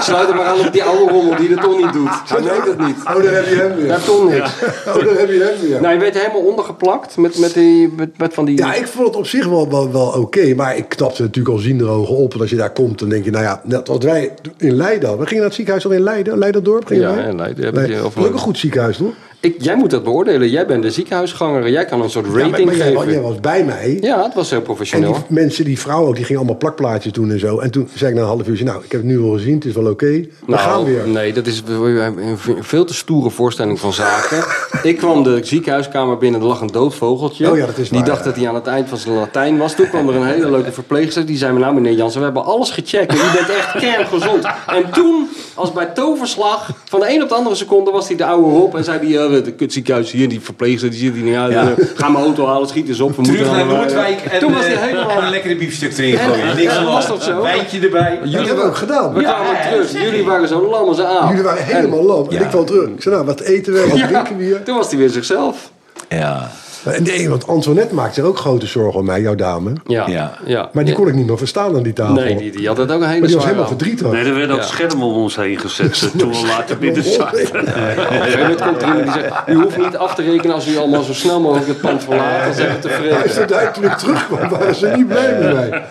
S2: sluit hem maar aan op die oude rommel die dat toch niet doet. Hij weet het niet.
S4: Oh, daar heb je hem
S2: Dat
S4: weer.
S2: toch niks.
S4: Oh, daar heb je hem weer.
S2: Nou, je werd helemaal ondergeplakt met, met, die, met, met van die...
S4: Ja, ik vond het op zich wel, wel, wel oké. maar ik knapte natuurlijk al zienderogen op. En als je daar komt, dan denk je, nou ja, net als wij in Leiden. hadden. We gingen naar het ziekenhuis al in Leiden. Leiderdorp gingen
S2: Ja,
S4: wij?
S2: in Leiden heb ik je
S4: Dat
S2: over-
S4: is ook een goed ziekenhuis, toch?
S2: Ik- jij moet dat beoordelen. Jij bent de ziekenhuisganger. Jij kan een soort
S4: Ja,
S2: rating
S4: maar, maar jij, wa-
S2: geven.
S4: jij was bij mij.
S2: Ja, het was heel
S4: En die
S2: professioneel.
S4: mensen, die vrouwen ook, die gingen allemaal plakplaatjes doen en zo. En toen zei ik na een half uurtje, nou, ik heb het nu al gezien. Het is wel oké. We
S2: Nou,
S4: gaan weer.
S2: Nee, dat is een veel te stoere voorstelling van zaken. ik kwam de ziekenhuiskamer binnen, er lag een dood vogeltje.
S4: Oh ja, dat is
S2: die
S4: waar,
S2: dacht
S4: ja.
S2: dat hij aan het eind van zijn Latijn was. Toen kwam er een hele leuke verpleegster. Die zei me, nou meneer Jansen, we hebben alles gecheckt. En u bent echt kerngezond. En toen, als bij toverslag, van de een op de andere seconde was hij de oude Rob. En zei hij, ja, de kutziekenhuis hier, die verpleegster, die zit hier niet uit.
S3: Ja.
S2: Eh, Ga mijn auto halen, schiet eens op. We
S3: Terug
S2: moeten
S3: naar
S2: aan de-
S3: Noordwijk en
S2: eh, Toen was hij
S3: eh,
S2: helemaal...
S3: een lekkere biefstuk erin
S2: En-
S3: gooien. Niks
S2: Ja,
S3: aan de
S2: was
S3: hand.
S2: dat zo?
S3: Wijntje erbij.
S4: dat hebben we ook gedaan.
S2: We kwamen
S3: Ja,
S2: terug.
S3: zeg
S2: Jullie waren zo lam als een aap.
S4: Jullie waren helemaal lam.
S3: Ja.
S4: En ik kwam terug. Ik zei, nou, wat eten we? Wat drinken we hier?
S2: Toen was hij weer zichzelf.
S3: Ja.
S4: En nee, want Antoinette maakt zich ook grote zorgen om mij, jouw dame.
S2: Ah, Ja.
S3: Ja.
S4: Maar die kon ik niet meer verstaan aan die tafel.
S2: Nee, die, die had dat ook een hele
S4: Maar die was
S2: zware
S4: helemaal
S2: hand.
S4: verdrietig.
S5: Nee, er werden ook
S2: Ja.
S5: schermen om ons heen gezet. eh, Toen we later binnen zaten.
S2: Op een gegeven moment komt er iemand die zegt... U hoeft niet af te rekenen als u allemaal zo snel mogelijk het pand verlaat. Dan zijn we
S4: Als
S2: tevreden.
S4: ze daar toen ik terugkwam, waren ze niet blij met mij.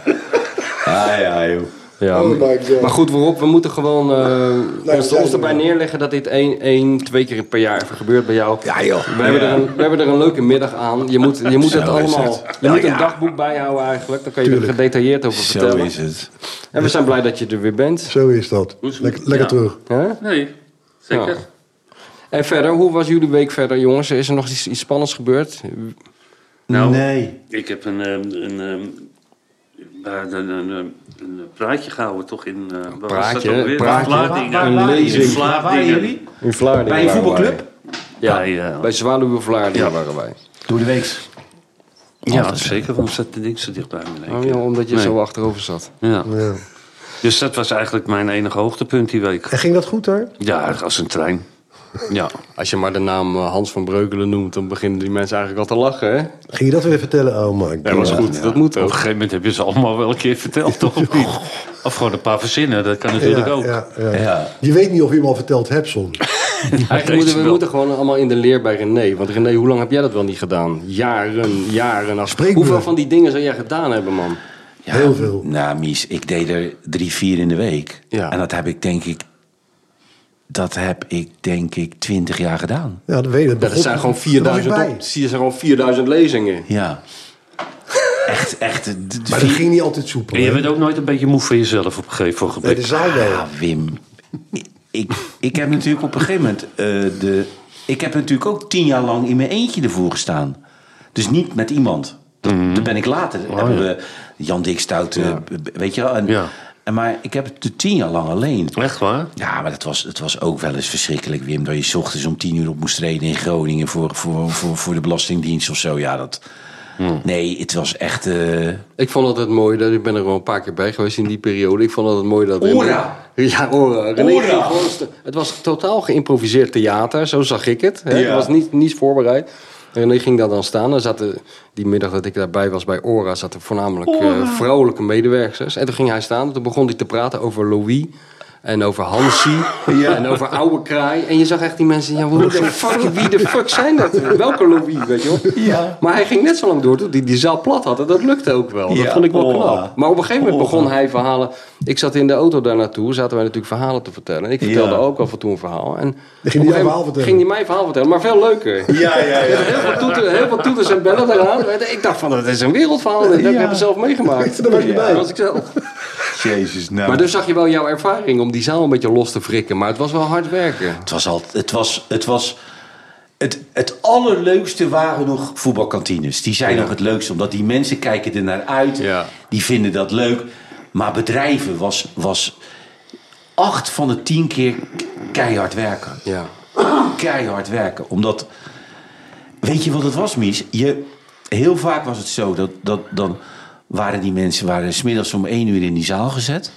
S3: Ja, Ah, ja, joh.
S2: Ja,
S4: Oh my god.
S2: maar goed, waarop we moeten gewoon eh, ons,
S4: Nou, zijn
S2: ons
S4: we
S2: erbij
S4: wel.
S2: neerleggen dat dit één, één, twee keer per jaar even gebeurt bij jou.
S4: Ja, joh.
S2: We hebben, er een, we hebben er een leuke middag aan. Je moet, je moet het
S3: Zo is
S2: allemaal.
S3: het.
S2: Je moet
S3: ja.
S2: een dagboek bijhouden eigenlijk. Dan kan je
S4: Tuurlijk.
S2: er gedetailleerd over
S3: Zo
S2: vertellen.
S3: is het.
S2: En we zijn blij dat je er weer bent.
S4: Zo is dat.
S5: is het?
S4: Lekker, lekker
S5: Ja.
S4: terug.
S2: Hè?
S5: Nee, zeker.
S2: Ja. En verder, hoe was jullie week verder, jongens? Is er nog iets, iets spannends gebeurd?
S5: Nou.
S3: Nee.
S5: Ik heb een, ehm, een, ehm, een, een, een, een praatje gehouden toch in... eh, waar was dat
S2: praatje,
S5: ook weer?
S2: praatje.
S5: Vlaardingen.
S3: Waar- waar-
S5: In
S3: lezing. Waar waren
S5: Vlaardingen.
S3: jullie?
S2: In Vlaardingen.
S3: Bij een
S2: waren
S3: voetbalclub?
S2: wij. Ja,
S5: Bij, eh,
S2: bij Zwaluwe Vlaardingen waren wij.
S3: Door de week.
S5: Ja, zeker. Waarom zat de ding zo dichtbij me? in één
S2: Oh,
S5: keer?
S2: ja, omdat je
S5: Nee.
S2: zo achterover zat.
S5: Ja.
S4: Ja.
S5: Dus dat was eigenlijk mijn enige hoogtepunt die week.
S4: En ging dat goed hoor?
S5: Ja, als een trein. Ja.
S2: Als je maar de naam eh, Hans van Breukelen noemt, dan beginnen die mensen eigenlijk al te lachen, hè?
S4: Ging je dat weer vertellen? Oh my
S2: Dat
S4: god.
S2: was goed, dat moet
S5: Op een
S2: ook.
S5: gegeven moment heb je ze allemaal wel een keer verteld, toch? Of, niet? of gewoon een paar verzinnen, dat kan natuurlijk ook.
S4: ja, ja.
S3: Ja.
S4: Je weet niet of je hem al verteld hebt soms.
S2: Eigenlijk moeten, we- we moeten gewoon allemaal in de leer bij René. Want René, hoe lang heb jij dat wel niet gedaan? Jaren, jaren. af-
S4: Spreekbeurt.
S2: Hoeveel van die dingen zou jij gedaan hebben, man?
S3: Ja,
S4: Heel veel.
S3: Nou, Mies, ik deed er drie, vier in de week.
S2: Ja.
S3: En dat heb ik denk ik... Dat heb ik denk ik twintig jaar gedaan.
S4: Ja, dat weet ik.
S2: Ja, dat zijn gewoon 4000, op,
S4: bij.
S2: dat zijn gewoon 4000 lezingen.
S3: Ja. Echt, echt. d- d-
S4: Maar dat
S3: vier-
S4: ging niet altijd soepel.
S5: En je
S4: hè?
S5: bent ook nooit een beetje moe van jezelf op een gegeven moment.
S4: Nee, de zaal wel.
S3: Ja, Wim. Ik- Ik, ik heb natuurlijk op een gegeven moment... eh, de, ik heb natuurlijk ook tien jaar lang in mijn eentje ervoor gestaan. Dus niet
S4: Mhm. Oh,
S3: met iemand. Dat, dat ben ik later. hebben we Jan Dik Stout, eh, b- weet je wel. En,
S5: Ja.
S3: En maar ik heb het tien jaar lang alleen.
S5: Echt waar?
S3: Ja, maar dat was, het was ook wel eens verschrikkelijk, Wim. Dat je 's ochtends om tien uur op moest treden in Groningen voor, voor, voor, voor de Belastingdienst of zo. Ja, dat... Nee, het was echt... eh,
S2: Ik vond altijd mooi, dat, ik ben er wel een paar keer bij geweest in die periode. Ik vond altijd mooi dat...
S3: Ora.
S2: Ja, Ora. René
S3: Ora.
S2: ging gewoon st- het was totaal geïmproviseerd theater, zo zag ik het. Hè?
S3: Ja.
S2: Er was niet, niets voorbereid. René ging daar dan staan. Er zaten, die middag dat ik daarbij was bij Ora, zaten voornamelijk eh, vrouwelijke medewerkers. En toen ging hij staan, toen begon hij te praten over Louis... En over Hansi. En over oude kraai. En je zag echt die mensen. Ja, hoe de fuck, wie de fuck zijn dat? Welke Louis, weet je wel?
S3: Ja.
S2: Maar hij ging net zo lang door tot hij die zaal plat had. En dat lukte ook wel.
S3: Ja,
S2: Dat vond ik wel
S3: oh.
S2: knap. Maar op een gegeven moment begon hij verhalen. Ik zat in de auto daar naartoe, zaten wij natuurlijk verhalen te vertellen. En ik vertelde
S3: Ja.
S2: ook af en toe een verhaal. En op een
S4: jouw
S2: gegeven moment
S4: verhaal vertellen?
S2: ging hij mijn verhaal vertellen, maar veel leuker.
S3: Ja, ja, ja.
S2: Heel veel, toeter, heel veel toeters en bellen eraan. Ik dacht van, dat is een wereldverhaal. Dat heb ik zelf meegemaakt.
S4: Daar was je bij.
S2: Dat was ik zelf.
S3: Jezus, nou.
S2: Maar dus zag je wel jouw ervaring om die zaal een beetje los te frikken. Maar het was wel hard werken.
S3: Het was al, het was, het was, het, het allerleukste waren nog voetbalkantines. Die zijn nog het leukste, omdat die mensen kijken er naar uit.
S2: Ja.
S3: Die vinden dat leuk. Maar bedrijven was, was acht van de tien keer keihard werken.
S2: Ja.
S3: Keihard werken, omdat, weet je wat het was, Mies? Je, heel vaak was het zo dat, dat dan waren die mensen waren smiddags om één uur in die zaal gezet.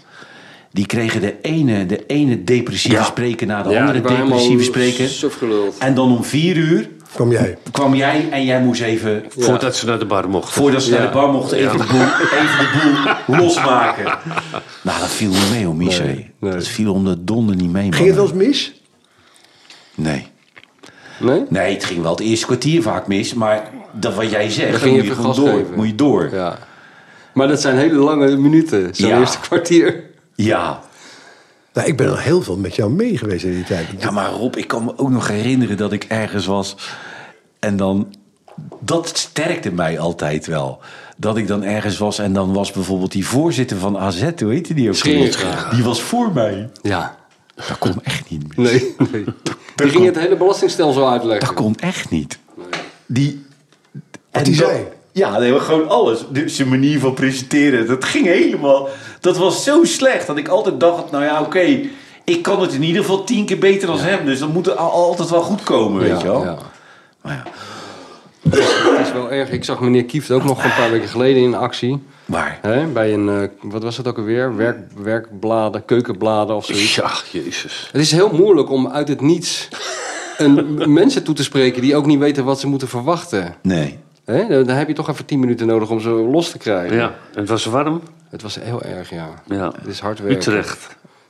S3: Die kregen de ene, de ene depressieve spreker na de
S2: Ja,
S3: andere
S2: die waren
S3: depressieve
S2: helemaal
S3: spreker.
S2: sufgeluld.
S3: En dan om vier uur
S4: Kwam jij?
S3: kwam jij en jij moest even,
S5: Voordat ze naar de bar mochten.
S3: voordat ze naar de bar mochten, even, de, boel, even de boel losmaken. Nou, dat viel niet mee, om Mies. hé. Dat viel om de donder niet mee.
S4: Ging het wel
S3: man.
S4: eens mis?
S3: Nee.
S2: Nee?
S3: Nee, het ging wel het eerste kwartier vaak mis, maar dat wat jij zegt,
S2: Dan
S3: dan
S2: ging je
S3: moet je
S2: even
S3: gewoon
S2: gas
S3: door.
S2: geven.
S3: Moet je door. Ja.
S2: Ja. Maar dat zijn hele lange minuten. Zo'n
S3: Ja.
S2: eerste kwartier.
S3: Ja.
S4: Nou, ik ben al heel veel met jou mee geweest in die tijd.
S3: maar Rob, ik kan me ook nog herinneren dat ik ergens was en dan. Dat sterkte mij altijd wel. Dat ik dan ergens was en dan was bijvoorbeeld die voorzitter van AZ, hoe heette die ook? alweer?
S2: Scheringa.
S3: Die was voor mij.
S2: Ja.
S3: Dat kon echt niet meer.
S2: Nee, nee. Die ging het hele belastingstelsel
S3: Dat
S2: uitleggen.
S3: kon echt niet. Die. en
S4: die
S3: dat-
S4: zei?
S3: Ja, nee, maar gewoon alles. De, zijn manier van presenteren, dat ging helemaal. Dat was zo slecht dat ik altijd dacht: nou ja, oké, ik kan het in ieder geval tien keer beter dan hem. Dus dat moet al- altijd wel goed komen, weet je wel.
S2: Ja.
S3: Maar, ja.
S2: Dat is wel erg. Ik zag meneer Kieft ook nog een paar weken geleden in actie.
S3: maar
S2: Hè? Bij een, eh, wat was dat ook alweer? Werk, werkbladen, keukenbladen of zoiets.
S5: Ja, jezus.
S2: Het is heel moeilijk om uit het niets een, mensen toe te spreken die ook niet weten wat ze moeten verwachten.
S3: nee.
S2: Hè? Dan, dan heb je toch even tien minuten nodig om ze los te krijgen.
S5: Ja, en het was warm.
S2: Het was heel erg, ja.
S5: Ja.
S2: Het is hard werken.
S5: Utrecht.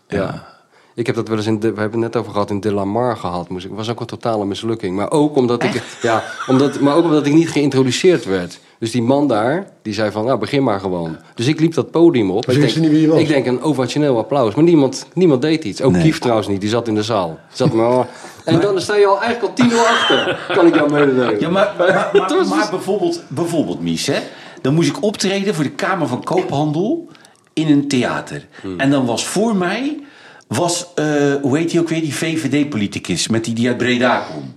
S2: Ja. Ik heb dat wel eens in, de, we hebben het net over gehad, in De La Mar gehad. Moest ik, was ook een totale mislukking. Maar ook, omdat ik, ja, omdat, maar ook omdat ik niet geïntroduceerd werd. Dus die man daar, die zei van, nou begin maar gewoon. Dus ik liep dat podium op.
S4: Dus
S2: ik,
S4: wist je niet wie je was?
S2: ik denk een ovationeel applaus. Maar niemand, niemand deed iets. Ook
S3: Nee.
S2: Kief trouwens niet, die zat in de zaal. Zat maar, en dan sta je al eigenlijk al 10 uur achter, kan ik jou mededelen.
S3: Ja, maar, maar, maar,
S2: Dat was-
S3: maar bijvoorbeeld, bijvoorbeeld Mies, hè? dan moest ik optreden voor de Kamer van Koophandel in een theater.
S2: Hmm.
S3: En dan was voor mij, was, eh, hoe heet hij ook weer, die VVD-politicus met die, die uit Breda komt.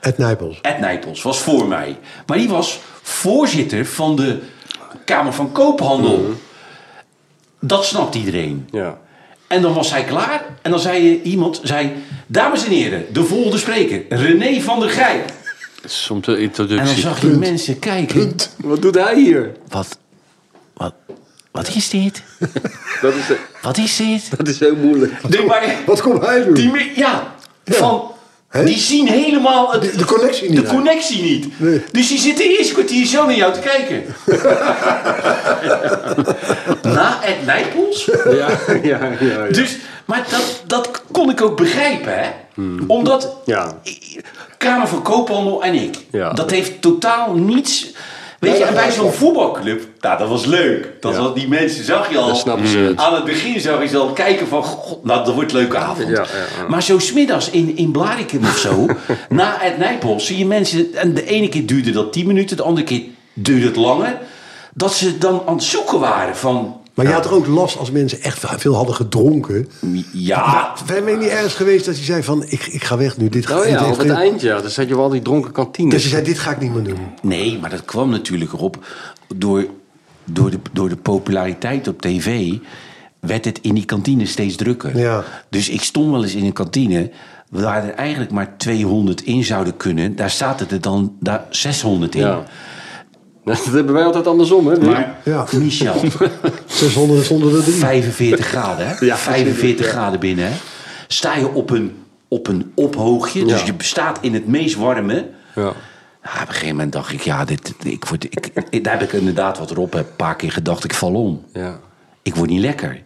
S4: Ed Nijpels.
S3: Ed Nijpels was voor mij. Maar die was voorzitter van de Kamer van Koophandel. Dat snapt iedereen.
S2: Mhm. Ja.
S3: En dan was hij klaar. En dan zei eh, iemand, zei, dames en heren, de volgende spreker, René van der Grijp.
S5: Soms de
S3: En dan
S5: introductie.
S3: zag je mensen kijken.
S2: Wat doet hij hier?
S3: Wat, wat, wat is dit?
S2: Dat is,
S3: Wat is dit?
S2: dat is heel moeilijk.
S3: Nee, maar
S4: Wat komt hij doen?
S3: die, me- ja, van,
S4: Hè?
S3: die zien helemaal het,
S4: De- de connectie niet
S3: De
S4: uit.
S3: connectie niet.
S4: Nee.
S3: Dus die zitten eerst een kwartier zo naar jou te kijken. Na Ed Nijpels.
S2: Ja, ja, ja. ja.
S3: Dus, maar dat, dat kon ik ook begrijpen, hè? Omdat
S2: Hmm. Ja.
S3: Kamer van Koophandel en ik,
S2: Ja.
S3: dat heeft totaal niets. Weet je, en bij zo'n voetbalclub, nou, dat was leuk. Dat was, die mensen zag je al.
S2: Dan snappen ze het.
S3: Aan het begin zag je ze al kijken van, god, nou, dat wordt een leuke avond.
S2: Ja, ja,
S3: Maar zo smiddags in, in Blarikum of zo, na het Nijpels, zie je mensen, en de ene keer duurde dat 10 minuten, de andere keer duurde het langer, dat ze dan aan het zoeken waren van,
S4: Maar je had er ook last als mensen echt veel hadden gedronken.
S3: ja,
S4: Ben je niet ergens geweest dat je zei van, ik, ik ga weg nu. Dit ga,
S2: Nou
S4: dit
S2: ja,
S4: heeft
S2: op het
S4: geen-
S2: eind, ja. Dan zat je wel al die dronken kantines.
S4: Dus je zei, dit ga ik niet meer doen.
S3: Nee, maar dat kwam natuurlijk erop door, door, de, door de populariteit op tv. werd het in die kantine steeds drukker.
S4: Ja.
S3: Dus ik stond wel eens in een kantine waar er eigenlijk maar 200 in zouden kunnen. Daar zaten er dan daar 600 in.
S2: Ja. Dat hebben wij altijd andersom, hè? Wim?
S3: Maar
S4: Ja.
S3: Michel,
S4: 600 zonder de drie.
S3: 45 graden, hè?
S2: Ja,
S3: 45 graden binnen, hè? Sta je op een, op een ophoogje, dus
S2: Ja.
S3: je staat in het meest warme.
S2: Ja.
S3: Ja, Ah, op een gegeven moment dacht ik, ja, dit, ik word, ik, ik- daar heb ik inderdaad wat erop. Heb een paar keer gedacht, ik val om.
S2: Ja.
S3: Ik word niet lekker.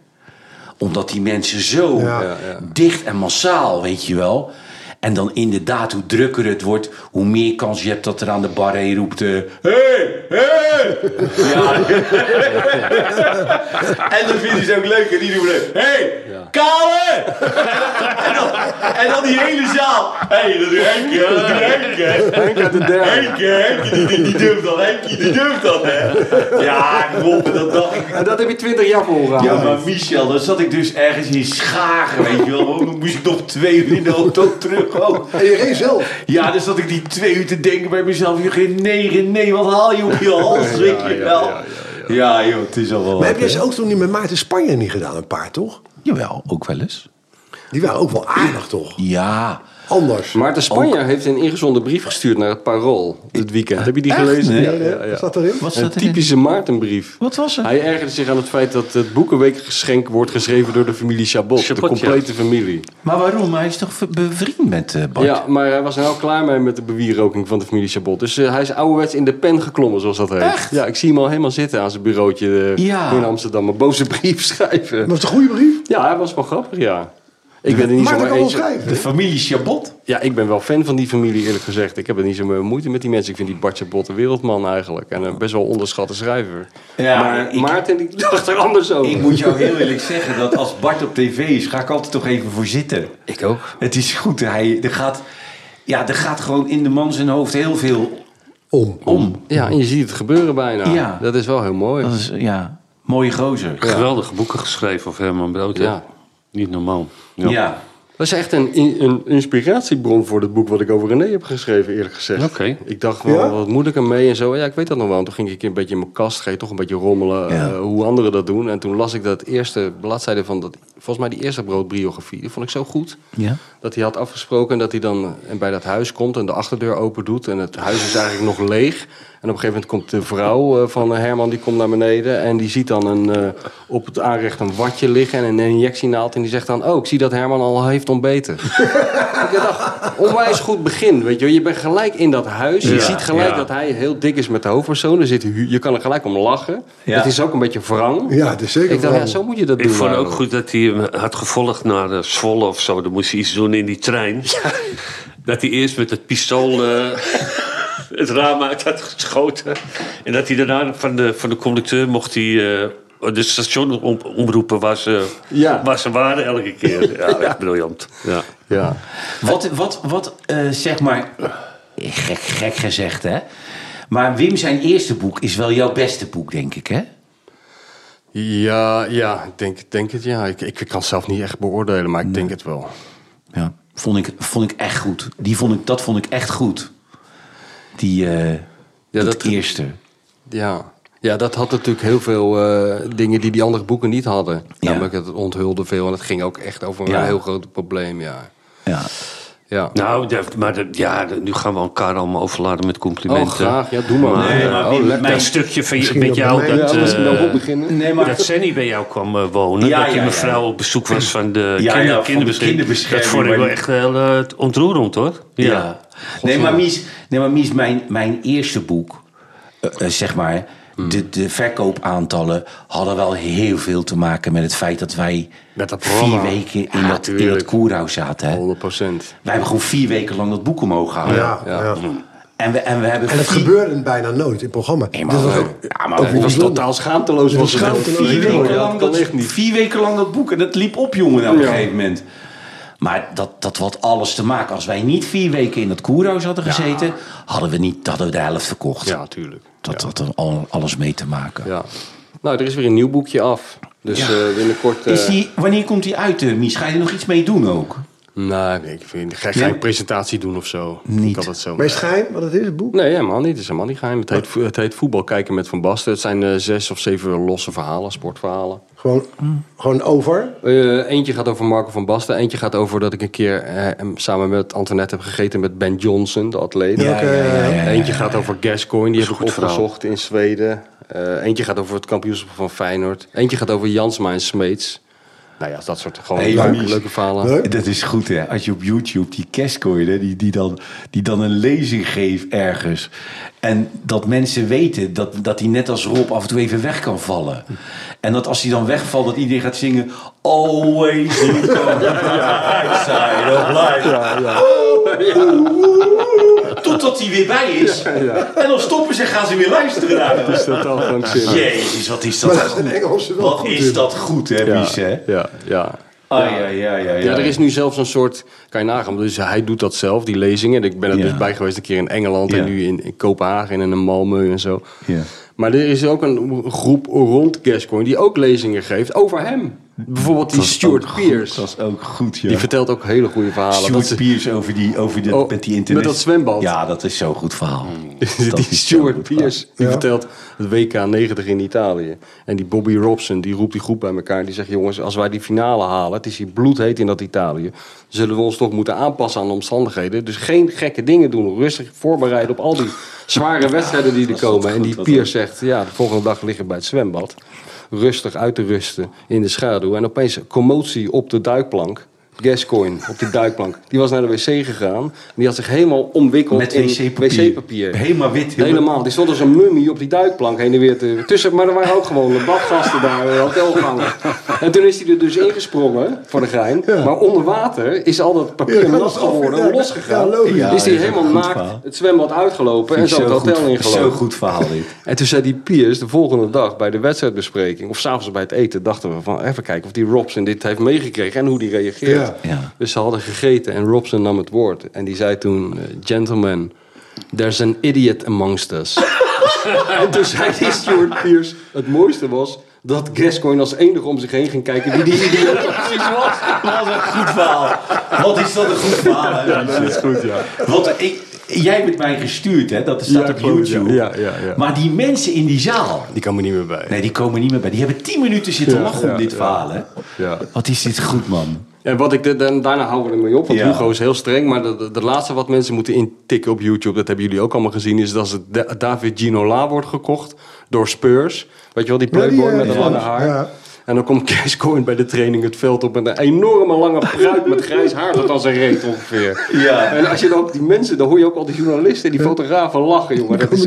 S3: Omdat die mensen zo
S4: Ja.
S2: Ja, ja.
S3: dicht en massaal, weet je wel. En dan inderdaad, hoe drukker het wordt, hoe meer kans je hebt dat er aan de bar heen roept... eh, hey, hey! Ja. en dat vinden ze ook leuk. En die doen leuk. hey, kale! en, dan, en dan die hele zaal. hey, dat is Henk, hè, dat is Henk, hè. Henkie, Henkie, die, die durft dat, Henkie, die durft dat, hè. Ja, Rob, dat dacht ik.
S2: En dat heb je 20 jaar volgehouden.
S3: Ja, maar Michel, dan zat ik dus ergens in Schagen, weet je wel. Dan moest ik nog twee uur in de auto terug ook.
S4: En je reed zelf.
S3: Ja, dan zat ik die twee uur te denken bij mezelf. joh, Nee, nee, wat haal je op je hals, weet je wel. Ja, joh, het is al wel
S4: Maar heb
S3: wat,
S4: je
S3: hè.
S4: ze ook toen niet met Maarten Spanje niet gedaan, een paar toch?
S3: Jawel, ook wel eens.
S4: Die waren ook wel aardig toch?
S3: Ja.
S4: Anders.
S2: Maarten Spanjer heeft een ingezonden brief gestuurd naar het Parool dit weekend. Heb je die
S3: Echt?
S2: gelezen?
S3: Nee.
S2: Ja,
S4: Nee,
S2: ja,
S4: nee,
S2: ja.
S4: Wat staat erin?
S3: Wat
S2: Een
S3: staat erin?
S2: typische Maartenbrief.
S3: Wat was het?
S2: Hij ergerde zich aan het feit dat het boekenweekgeschenk wordt geschreven door de familie Chabot.
S5: Chabot,
S2: de complete familie.
S3: Maar waarom? Hij is toch v- bevriend met eh, Bart?
S2: Ja, maar hij was er al klaar mee met de bewierroking van de familie Chabot. Dus eh, hij is ouderwets in de pen geklommen, zoals dat heet.
S3: Echt?
S2: Ja, ik zie hem al helemaal zitten aan zijn bureautje eh,
S3: Ja.
S2: in Amsterdam. Een boze brief schrijven.
S4: Was het een goede brief?
S2: Ja, hij was wel grappig, ja. Ik ben er niet
S4: Maarten
S2: zomaar
S4: kan wel
S2: eens.
S4: schrijven.
S3: De familie Chabot?
S2: Ja, ik ben wel fan van die familie, eerlijk gezegd. Ik heb er niet zo mee moeite met die mensen. Ik vind die Bartje Bot een wereldman eigenlijk. En een best wel onderschatte schrijver.
S3: Ja,
S2: maar
S3: ik-
S2: Maarten die dacht er anders over.
S3: Ik moet jou heel eerlijk zeggen dat als Bart op tv is, ga ik altijd toch even voor zitten.
S2: Ik ook.
S3: Het is goed. Hij, er, gaat, ja, er gaat gewoon in de man zijn hoofd heel veel
S4: Om.
S3: om.
S2: Ja, en je ziet het gebeuren bijna.
S3: Ja.
S2: Dat is wel heel mooi.
S3: Dat is, ja, mooie gozer.
S5: Geweldige boeken geschreven of Herman Brood. hè?
S2: Ja.
S5: Niet normaal.
S3: Ja.
S2: Dat is echt een, in- een inspiratiebron voor het boek wat ik over René heb geschreven, eerlijk gezegd.
S5: Oké.
S2: Ik dacht wel,
S4: Ja?
S2: wat moet ik ermee en zo. Ja, ik weet dat nog wel. En toen ging ik een beetje in mijn kast, ging toch een beetje rommelen
S3: Ja.
S2: eh, hoe anderen dat doen. En toen las ik dat eerste bladzijde van, dat, volgens mij die eerste broodbiografie. Die vond ik zo goed.
S3: Ja.
S2: Dat hij had afgesproken dat hij dan eh, en bij dat huis komt en de achterdeur open doet. En het huis is eigenlijk nog leeg. En op een gegeven moment komt de vrouw eh, van eh, Herman, die komt naar beneden. En die ziet dan een, eh, op het aanrecht een watje liggen en een injectienaald. En die zegt dan, oh, ik zie dat Herman al heeft ontbeten. ik dacht, onwijs goed begin, weet je wel. Je bent gelijk in dat huis. Je
S5: Ja,
S2: ziet gelijk
S5: ja.
S2: dat hij heel dik is met de hoofdpersoon. Er zit, hu- je kan er gelijk om lachen.
S3: Ja.
S2: Het is ook een beetje wrang.
S4: Ja, het is zeker
S2: ik dacht, ja,
S4: wrang.
S2: zo moet je dat
S5: Ik
S2: doen. nou.
S5: vond ook
S2: eigenlijk.
S5: goed dat hij hem had gevolgd naar eh, Zwolle of zo. Dan moest hij iets doen in die trein. Dat hij eerst met het pistool eh, het raam uit had geschoten. En dat hij daarna van de, van de conducteur mocht hij... eh, de station om- omroepen waar ze,
S2: Ja.
S5: waar ze waren elke keer. Ja, echt briljant. Ja.
S2: Ja.
S3: Wat, wat, wat eh, zeg maar, gek, gek gezegd hè. Maar Wim zijn eerste boek is wel jouw beste boek, denk ik hè?
S2: Ja, ja, ik denk, denk het ja. Ik, ik kan het zelf niet echt beoordelen, maar ik denk het wel.
S3: Ja. Vond ik, vond ik echt goed. Die vond ik, dat vond ik echt goed. Die, eh, dat,
S2: dat-
S3: eerste.
S2: Ja, ja dat had natuurlijk heel veel eh, dingen die die andere boeken niet hadden.
S3: Ja.
S2: Namelijk, het onthulde veel en het ging ook echt over
S3: Ja.
S2: een heel groot probleem, ja.
S3: Ja.
S2: ja.
S5: Nou, dat- maar dat- ja, dat- nu gaan we elkaar allemaal overladen met complimenten.
S2: Oh, graag. Ja, doe maar.
S3: Nee, maar Wim,
S2: oh, lekker.
S3: mijn-
S5: Dat stukje van, je-
S4: Misschien
S5: met
S4: dat
S5: jou...
S4: bij mij-
S5: dat,
S2: Ja, misschien
S5: eh,
S2: dan op beginnen.
S3: Nee, maar
S5: Dat Senny bij jou kwam eh, wonen.
S3: Ja,
S5: dat je
S3: ja, ja.
S5: mevrouw op bezoek was van de,
S3: Ja,
S5: kinder,
S3: ja, van de
S5: kinderbescherming.
S3: kinderbescherming,
S5: Dat vond ik
S3: maar
S5: wel
S3: die-
S5: echt heel eh, ontroerend hoor.
S3: Ja. Nee, maar Mies, nee, maar Mies mijn, mijn eerste boek, eh, eh, zeg maar,
S2: Mm.
S3: de, de verkoopaantallen hadden wel heel veel te maken met het feit dat wij
S2: Met dat
S3: vier
S2: programma.
S3: weken in
S2: Ja,
S3: dat, in dat
S2: tuurlijk. Oh.
S3: koerhuis zaten. Hè.
S2: 100 procent.
S3: Wij hebben gewoon vier weken lang dat boek omhoog gehouden.
S4: Ja, ja.
S3: En, we, en we hebben
S4: En dat
S3: vier-
S4: gebeurde bijna nooit in het programma.
S3: Nee, maar,
S4: Dus dat
S3: we-
S4: was ook-
S3: eh, ja, maar
S4: ook
S3: we-
S2: Het was
S4: bijzonder.
S2: totaal schaamteloos.
S4: Het was
S2: was het.
S4: schaamteloos.
S3: vier,
S4: Ja,
S3: weken
S2: ja,
S3: lang
S2: dat
S3: dat,
S2: kan echt niet.
S3: vier weken lang dat boek. En dat liep op, jongen, op een
S2: Ja.
S3: gegeven moment. Maar dat, dat had alles te maken. Als wij niet vier weken in dat koerhuis hadden gezeten... Hadden, we niet, hadden we de helft verkocht.
S2: Ja, tuurlijk.
S3: Dat had er al- alles mee te maken.
S2: Ja. Nou, er is weer een nieuw boekje af. Dus
S3: Ja.
S2: eh, binnenkort... eh,
S3: Is die, wanneer komt die uit, eh, Mies? Ga je er nog iets mee doen ook?
S6: Nou, nee, ik vind, ga
S3: Nee?
S6: geen presentatie doen of zo.
S3: Niet.
S6: Ik had dat zo.
S4: Maar is het geheim wat het is, het boek?
S2: Nee, helemaal niet. Het is helemaal niet geheim. Het heet, vo- het heet Voetbal kijken met Van Basten. Het zijn eh, zes of zeven losse verhalen, sportverhalen.
S4: Gewoon, gewoon over.
S2: Eh, eentje gaat over Marco van Basten. Eentje gaat over dat ik een keer eh, hem samen met Antoinette heb gegeten met Ben Johnson, de atleet.
S4: Ja, ja, ja, ja, ja.
S2: Eentje gaat over Gascoigne, die heb
S3: een
S2: ik
S3: goed verhaal.
S2: opgezocht in Zweden. Eh, eentje gaat over het kampioenschap van Feyenoord. Eentje gaat over Jansma en Smeets. Nou ja, dat soort gewoon
S3: Hey,
S2: leuke,
S3: Mies.
S2: leuke verhalen.
S4: Leuk.
S3: Dat is goed, hè? Als je op YouTube die kerstkoorden, die, die, dan, die dan een lezing geeft ergens. En dat mensen weten dat, dat hij net als Rob af en toe even weg kan vallen. En dat als hij dan wegvalt, dat iedereen gaat zingen... Always you come to the bright side of life. Totdat hij weer bij is. En dan stoppen ze en gaan ze weer luisteren naar hem. Ah,
S2: Dat is totaal krankzinnig.
S3: Jezus, wat is dat
S4: Maar dat is
S3: goed.
S4: in Engelse wel
S3: Wat
S4: goed
S3: is
S4: in.
S3: dat goed, hè,
S2: Ja,
S3: Mies, hè?
S2: ja, ja.
S3: Ah, ja, ja, ja,
S2: Ja, er is nu zelfs een soort, kan je nagaan, dus hij doet dat zelf, die lezingen. Ik ben er
S3: Ja.
S2: dus bij geweest een keer in Engeland
S3: Ja.
S2: en nu in, in Kopenhagen en in Malmö en zo.
S3: Ja.
S2: Maar er is ook een groep rond Gascoigne die ook lezingen geeft over hem. Bijvoorbeeld die Stuart Pearce.
S3: Dat is ook goed, ja.
S2: Die vertelt ook hele goede verhalen.
S3: Stuart
S2: Dat ze-
S3: Pearce over die, over de,
S2: Oh,
S3: met die internet.
S2: met dat zwembad.
S3: Ja, dat is zo'n goed verhaal. Dat
S2: die
S3: is zo'n
S2: Stuart
S3: goed verhaal.
S2: Pearce die
S4: Ja.
S2: vertelt het WK 90 in Italië. En die Bobby Robson die roept die groep bij elkaar. en Die zegt: Jongens, als wij die finale halen, het is hier bloedheet in dat Italië. Zullen we ons toch moeten aanpassen aan de omstandigheden. Dus geen gekke dingen doen. Rustig voorbereiden op al die zware wedstrijden die er
S3: was dat
S2: komen.
S3: goed,
S2: en die
S3: wat
S2: Pearce zegt: Ja, de volgende dag liggen we bij het zwembad. Rustig uit te rusten in de schaduw. En opeens commotie op de duikplank. Gascoigne op die duikplank. Die was naar de wc gegaan. En die had zich helemaal omwikkeld
S3: Met
S2: in
S3: wc-papier.
S2: wc-papier.
S3: Helemaal wit.
S2: Helemaal. Helemaal. Die stond als een mummie op die duikplank heen en weer te, tussen. Maar er waren ook gewoon de badgasten daar, eh, hotelgangen. En toen is hij er dus ingesprongen, voor de gein. Maar onder water is al dat papier
S4: Ja, dat
S2: nat
S4: is af-
S2: geworden
S4: ja,
S2: en losgegaan.
S4: ja, logisch.
S2: is hij
S3: Ja, dat is
S2: helemaal
S3: een goed
S2: naakt
S3: verhaal.
S2: het zwembad uitgelopen en zo het
S3: Zo'n goed-
S2: hotel
S3: Zo'n
S2: ingelopen.
S3: goed verhaal dit.
S2: En toen zei die Piers de volgende dag bij de wedstrijdbespreking... of s'avonds bij het eten dachten we van... even kijken of die Robson dit heeft meegekregen en hoe die reageert.
S4: Ja.
S3: Ja.
S2: Dus ze hadden gegeten en Robson nam het woord. En die zei toen, eh, gentlemen, there's an idiot amongst us. en toen zei die Stuart Pearce, het mooiste was dat Gascoigne als enige om zich heen ging kijken wie die idioot precies was.
S3: Wat een goed verhaal. Wat is dat een goed verhaal. hè, Mies, hè?
S6: Goed, ja.
S3: Want eh, ik, jij hebt mij gestuurd, hè? Dat staat
S2: Ja,
S3: op
S2: klopt, ja.
S3: YouTube.
S2: Ja, ja, ja.
S3: Maar die mensen in die zaal,
S2: Die kan me niet meer bij.
S3: nee, die komen niet meer bij. Die hebben tien minuten zitten
S2: Ja,
S3: lachen
S2: ja,
S3: om dit
S2: ja.
S3: verhaal, hè?
S2: Ja.
S3: Wat is dit goed, man?
S2: En wat ik de- dan, daarna houden we ermee op, want
S3: Ja.
S2: Hugo is heel streng. Maar de, de, de laatste wat mensen moeten intikken op YouTube, dat hebben jullie ook allemaal gezien, is dat het Da- David Ginola wordt gekocht door Spurs. Weet je wel, die
S4: Ja, die,
S2: playboy
S4: eh,
S2: met een
S4: ja.
S2: lange haar.
S4: Ja.
S2: En dan komt Cash Coin bij de training het veld op met een enorme lange pruik met grijs haar tot als een reet ongeveer.
S3: Ja.
S2: En als je dan ook die mensen, dan hoor je ook al die journalisten en die fotografen lachen, jongen. Dat is,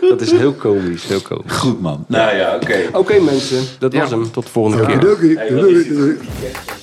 S2: dat is heel komisch, heel komisch.
S3: Goed, man. Nou ja, oké.
S2: Oké mensen, dat was hem. Tot de volgende keer.
S4: Okidoki. Doei, doei, doei.